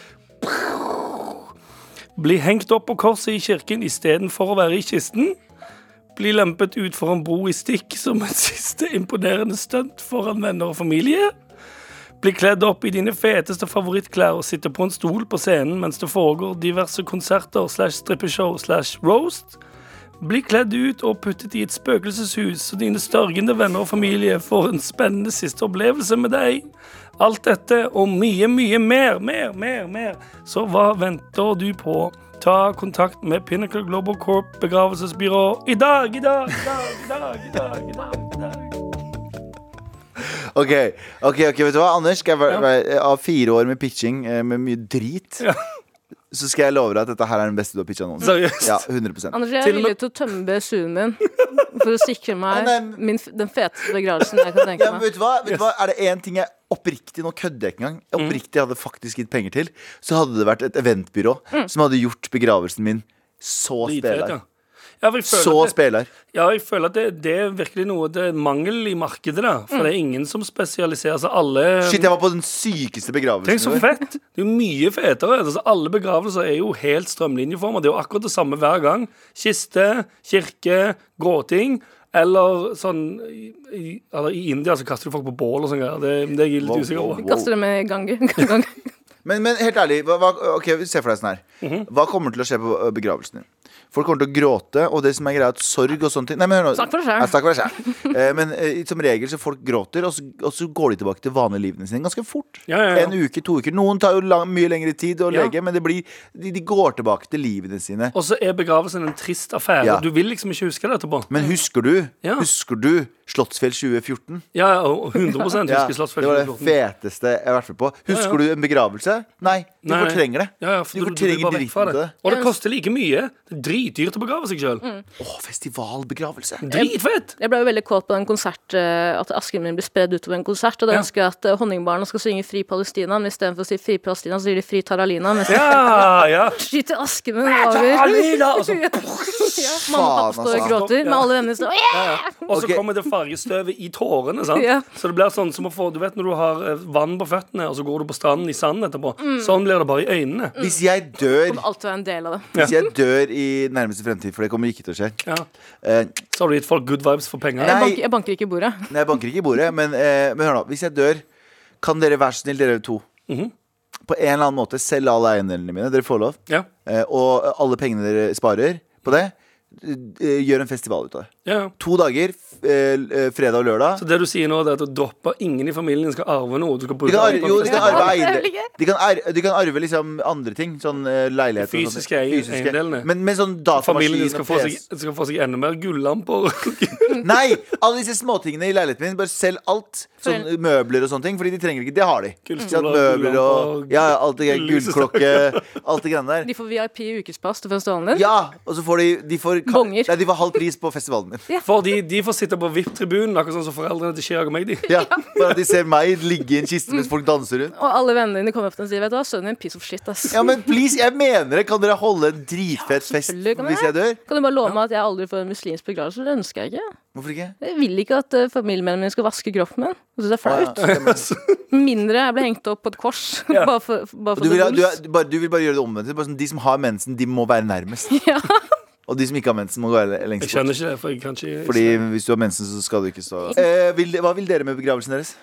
S3: Bli hengt opp på korset i kirken istedenfor å være i kisten. Bli lempet ut for en bro i stikk som et siste imponerende stunt foran venner og familie. Bli kledd opp i dine feteste favorittklær og sitte på en stol på scenen mens det foregår diverse konserter slash strippeshow slash roast. Bli kledd ut og puttet i et spøkelseshus, så dine størgende venner og familie får en spennende siste opplevelse med deg. Alt dette og mye, mye mer, mer, mer, mer. Så hva venter du på? Ta kontakt med Pinnacle Global Corp begravelsesbyrå i dag, i dag, i dag, i dag, i dag. i dag, i dag.
S2: Ok, ok, ok, vet du hva, Anders? Skal jeg, være- være- av fire år med pitching eh, med mye drit,
S3: Ja.
S2: så skal jeg love deg at dette her er den beste du har pitcha noensinne.
S3: Seriøst?
S2: Ja, 100
S4: Anders, jeg
S3: Til og
S4: er
S3: med-
S4: villig til å tømme BSU-en min for å sikre meg
S2: Ja, nei,
S4: min, f- den feteste begravelsen jeg kan tenke
S2: Ja, men
S4: meg.
S2: vet du hva? Vet du hva? Er det én ting jeg oppriktig Nå kødder jeg ikke engang.
S3: Mm.
S2: Jeg oppriktig hadde faktisk gitt penger til, så hadde det vært et eventbyrå som hadde gjort begravelsen min så
S3: Dritfett, ja.
S2: spelar.
S3: Ja, for jeg føler
S2: Så
S3: at det-
S2: spelar.
S3: Ja, jeg føler at det, det er virkelig noe Det er mangel i markedet, da. For det er ingen som spesialiserer seg. Alle
S2: Shit, jeg var på den sykeste
S3: Tenk så
S2: begravelsen. vår.
S3: fett! Det er jo mye fetere. Altså, alle begravelser er jo helt strømlinjeforma. Det er jo akkurat det samme hver gang. Kiste, kirke, gråting. Eller sånn i, i- eller I India så kaster du folk på bål og sånn. greier. Det, det er jeg litt
S2: Wow,
S3: usikker
S2: wow,
S3: på.
S2: wow.
S4: Kaster det med gange. gange.
S2: Men, men helt ærlig, hva, hva, ok, se for deg sånn her.
S3: Mhm.
S2: Hva kommer til å skje på ø, begravelsen din? Folk kommer til å gråte, og det som er greia, er at sorg og sånne ting Nei, men hør nå.
S4: Snakk for deg selv.
S2: Ja, snakk for deg selv. Eh, Men eh, som regel så folk gråter, og så, og så går de tilbake til vanlige livene sine ganske fort.
S3: Ja, ja, ja.
S2: En uke, to uker. Noen tar jo lang, mye lengre tid å
S3: Ja.
S2: lege, men det blir, de, de går tilbake til livene sine.
S3: Og så er begravelsen en trist affære.
S2: Ja.
S3: Du vil liksom ikke huske det etterpå.
S2: Men husker du?
S3: Ja.
S2: Husker du Slottsfjell 2014?
S3: Ja, ja, og 100 husker
S2: Ja, det
S3: Slottsfjell
S2: var det
S3: 2014.
S2: feteste jeg har vært med på. Husker du en begravelse? Nei, du
S3: Nei, nei.
S2: fortrenger det.
S3: Ja, ja,
S2: du
S3: for du, du, vil
S2: fortrenger
S3: bare vekk fra
S2: driten til
S3: det.
S2: det.
S3: Og det koster like mye. Det er dritdyrt å begrave seg sjøl.
S2: Å, festivalbegravelse.
S3: Mm. Dritfett!
S4: Jeg ble jo veldig kåt på den konsert, eh, at asken min ble spredd utover en konsert. Og da
S3: Ja.
S4: ønsker jeg at eh, honningbarna skal synge Fri Palestina, men istedenfor å si Fri Palestina, så sier de Fri Taralina. Mens de
S3: Ja, ja.
S4: skyter asken min over.
S3: Alina! Og så,
S4: Ja, mamma
S2: Faen,
S4: og pappa står og
S2: altså.
S4: gråter med
S3: Ja.
S4: alle vennene sine. «Åh,
S3: ja, ja. og så
S2: Ok.
S3: kommer det fargestøvet i tårene. Sant?
S4: Ja.
S3: Så det blir sånn som å få Du vet når du har eh, vann på føttene, og så går du på stranden i sanden etterpå. Sånn blir det bare i øynene.
S2: Hvis jeg dør
S4: Kommer alltid å være en del av det.
S2: Hvis jeg dør i nærmeste fremtid, for det kommer ikke til å skje
S3: Ja.
S2: eh,
S3: Så har du gitt folk good vibes for penger.
S2: Nei.
S4: Jeg banker, jeg banker ikke i bordet.
S2: Nei, jeg banker ikke i bordet, men, eh, men hør nå. Hvis jeg dør, kan dere være snill, dere to,
S3: Mhm.
S2: på en eller annen måte selge alle eiendelene mine, dere får lov,
S3: Ja.
S2: eh, og alle pengene dere sparer på det, eh, gjør en festival ut av det.
S3: Ja. ja.
S2: To dager, f- eh, fredag og lørdag.
S3: Så det du sier nå, det er at du dropper ingen i familien skal arve noe. Du skal
S2: De
S3: bruke
S2: kan
S3: alt
S2: arve,
S3: på
S2: jo,
S3: en
S2: de kan
S3: festival.
S2: arve,
S4: Det er veldig
S2: eiende-
S4: gøy.
S2: de kan arve, de kan arve liksom andre ting. Sånn eh, leilighet og sånt.
S3: Fysiske eier- eiendelene.
S2: Men, men sånn datamaskin
S3: Familien
S2: og
S3: skal få, seg,
S2: PC.
S3: skal få seg enda mer gullamper.
S2: Nei! Alle disse småtingene i leiligheten min. Bare selg alt. Sånn
S4: For-
S2: møbler og sånne ting. Fordi de trenger ikke Det har de.
S3: Gullstoler,
S2: Sånn, møbler og
S3: gulllamper,
S2: Ja, ja, alt det greia.
S3: lys og
S2: Gullklokke. Alt det greiene der.
S4: De får VIP i ukespass til festivalen din.
S2: Ja! Og så får de De får, ka-
S4: Bonger.
S2: Nei, de får halv pris på festivalen min.
S3: Fordi de får sitte på VIP-tribunen, akkurat sånn som foreldrene til Chirag og meg. De.
S2: Ja, For at de ser meg ligge i en kiste mens folk danser rundt.
S4: Og alle vennene dine kommer opp til deg og sier Vet du hva, sønnen din, piece of shit, ass.
S2: Ja, men please, jeg mener det! Kan dere holde en dritfett fest
S4: selvfølgelig kan
S2: hvis jeg dør?
S4: Kan du bare love meg at jeg aldri får en muslimsk begravelse? Det ønsker jeg ikke.
S2: Hvorfor ikke?
S4: Jeg vil ikke at eh, familiemedlemmene mine skal vaske kroppen min. Jeg synes det er
S2: Å, ja,
S4: flaut.
S2: stemmer.
S4: Mindre jeg ble hengt opp på et kors.
S3: Ja.
S4: bare for, bare
S2: Og
S4: for
S2: Du vil,
S4: the
S2: du,
S4: rules.
S2: er, du, bare, du vil bare gjøre det omvendt. Bare sånn, de som har mensen, de må være nærmest.
S4: Ja.
S2: Og de som ikke har mensen, må gå le-
S3: Jeg
S2: lengst bort.
S3: skjønner ikke det, for jeg kan ikke
S2: Fordi hvis du har mensen, så skal du ikke stå eh, vil, Hva vil dere med begravelsen deres?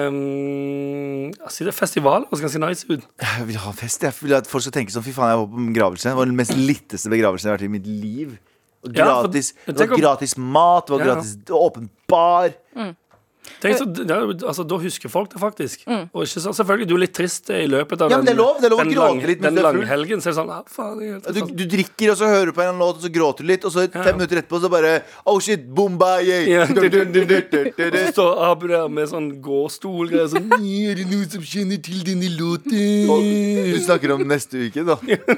S3: Ehm, altså, det er festival høres ganske nice ut.
S2: Jeg vil ha fest. Jeg vil at folk skal tenke sånn Fy faen, jeg var på en begravelse. Det var den mest litteste begravelsen jeg har vært i mitt liv. Og
S3: Ja, for-
S2: gratis,
S3: men
S2: det
S3: tenk
S2: var
S3: om-
S2: gratis mat, det var
S3: Ja.
S2: gratis åpen bar.
S3: Tenk så, det er jo- altså, da husker folk det faktisk. Og ikke så, selvfølgelig, du er litt trist i løpet av
S2: Ja, men det er lov, det er lov å
S3: den,
S2: gråte litt mens
S3: den
S2: du er full.
S3: langhelgen. Så er det sånn ah, faen, jeg,
S2: Du, du drikker, og så hører du på en låt, og så gråter du litt, og så fem minutter etterpå så bare Oh shit, bomba,
S3: Ja.
S2: yeah. Du, du, du, du, du, du, du.
S3: Så står Abu der med sånn gåstolgreier sånn Er det noen som kjenner til denne
S2: Og
S3: låten?
S2: du snakker om neste uke, da.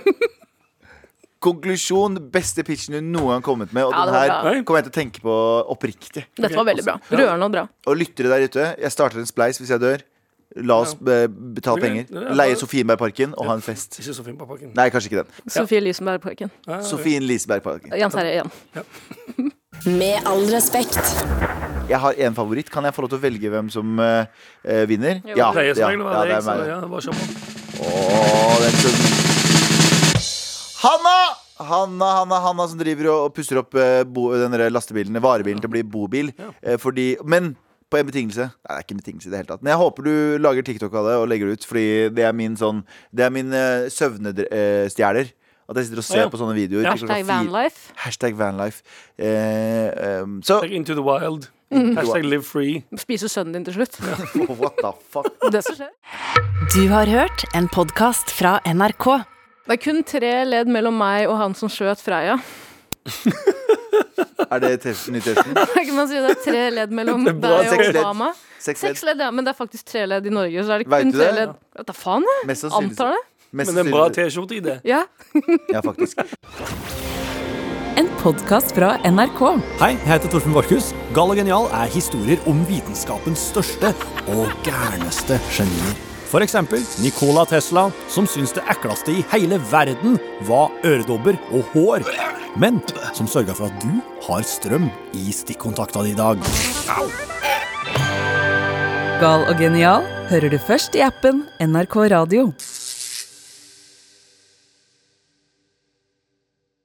S2: Konklusjon. Beste pitchen du noen gang kommet med. Og
S4: Ja,
S2: den
S4: det var
S2: her
S4: bra.
S3: Nei.
S2: kommer jeg til å tenke på oppriktig.
S4: Dette var veldig bra. Rørende og bra.
S2: Og lyttere der ute, jeg starter en spleis hvis jeg dør. La oss be- betale
S3: Ok, det
S2: penger.
S3: er
S2: Leie
S3: bare-
S2: Sofienbergparken og ha en fest.
S3: Ikke så fin på pakken.
S2: Nei, kanskje ikke den.
S4: Sofie Lysenberg-parken.
S2: Sofien Lisebergparken.
S4: Jens Herre igjen.
S5: Med all respekt.
S2: Jeg har én favoritt. Kan jeg få lov til å velge hvem som eh, eh, vinner? Ja.
S3: Det
S2: ja,
S3: er som regel å
S2: ja,
S3: være
S2: det er
S3: deg, så
S2: meg.
S3: ja, bare kjør på.
S2: Åh, det er ikke så- Hanna! Hanna, Hanna, Hanna som driver og og pusser opp eh, bo, den der lastebilen, varebilen til å bli bobil. eh, Fordi, men på en betingelse. Nei, det er ikke en betingelse i det hele tatt. Men jeg håper du lager TikTok av det og legger det ut, fordi det er min sånn Det er min eh, søvnestjeler. At jeg sitter og ser
S3: Ja.
S2: på sånne videoer. til klokka
S4: Hashtag
S2: fire-
S4: vanlife.
S2: Hashtag vanlife. Eh, ehm, så
S3: Hashtag Into the wild. Hashtag live free.
S4: Spiser sønnen din til slutt. Det
S2: What the fuck?
S4: er det som skjer.
S1: Du har hørt en podkast fra NRK.
S4: Det er kun tre ledd mellom meg og han som skjøt Freya.
S2: Er det testen, ny testen?
S4: Kan man si det er tre ledd mellom
S3: Det er bra.
S4: deg og
S2: Seks ledd.
S4: Obama?
S2: Seks
S4: Seks
S2: ledd?
S4: ledd, ja, men det er faktisk tre ledd i Norge. Så er det
S2: Vet
S4: kun
S2: du
S4: tre
S2: det?
S4: ledd. Ja, Da faen, jeg
S2: Mest sannsynlig.
S4: antar det.
S2: Mest
S3: Men det er en bra
S2: sannsynlig-
S3: T-skjorte-idé.
S4: Ja.
S2: Ja, faktisk.
S1: En podkast fra NRK.
S7: Hei, jeg heter Torfinn Borchhus. Gal og genial er historier om vitenskapens største og gærneste genier. For eksempel Nikola Tesla, som syns det ekleste i hele verden var øredobber og hår, men som sørga for at du har strøm i stikkontakta di i dag.
S1: Gal og genial hører du først i appen NRK Radio.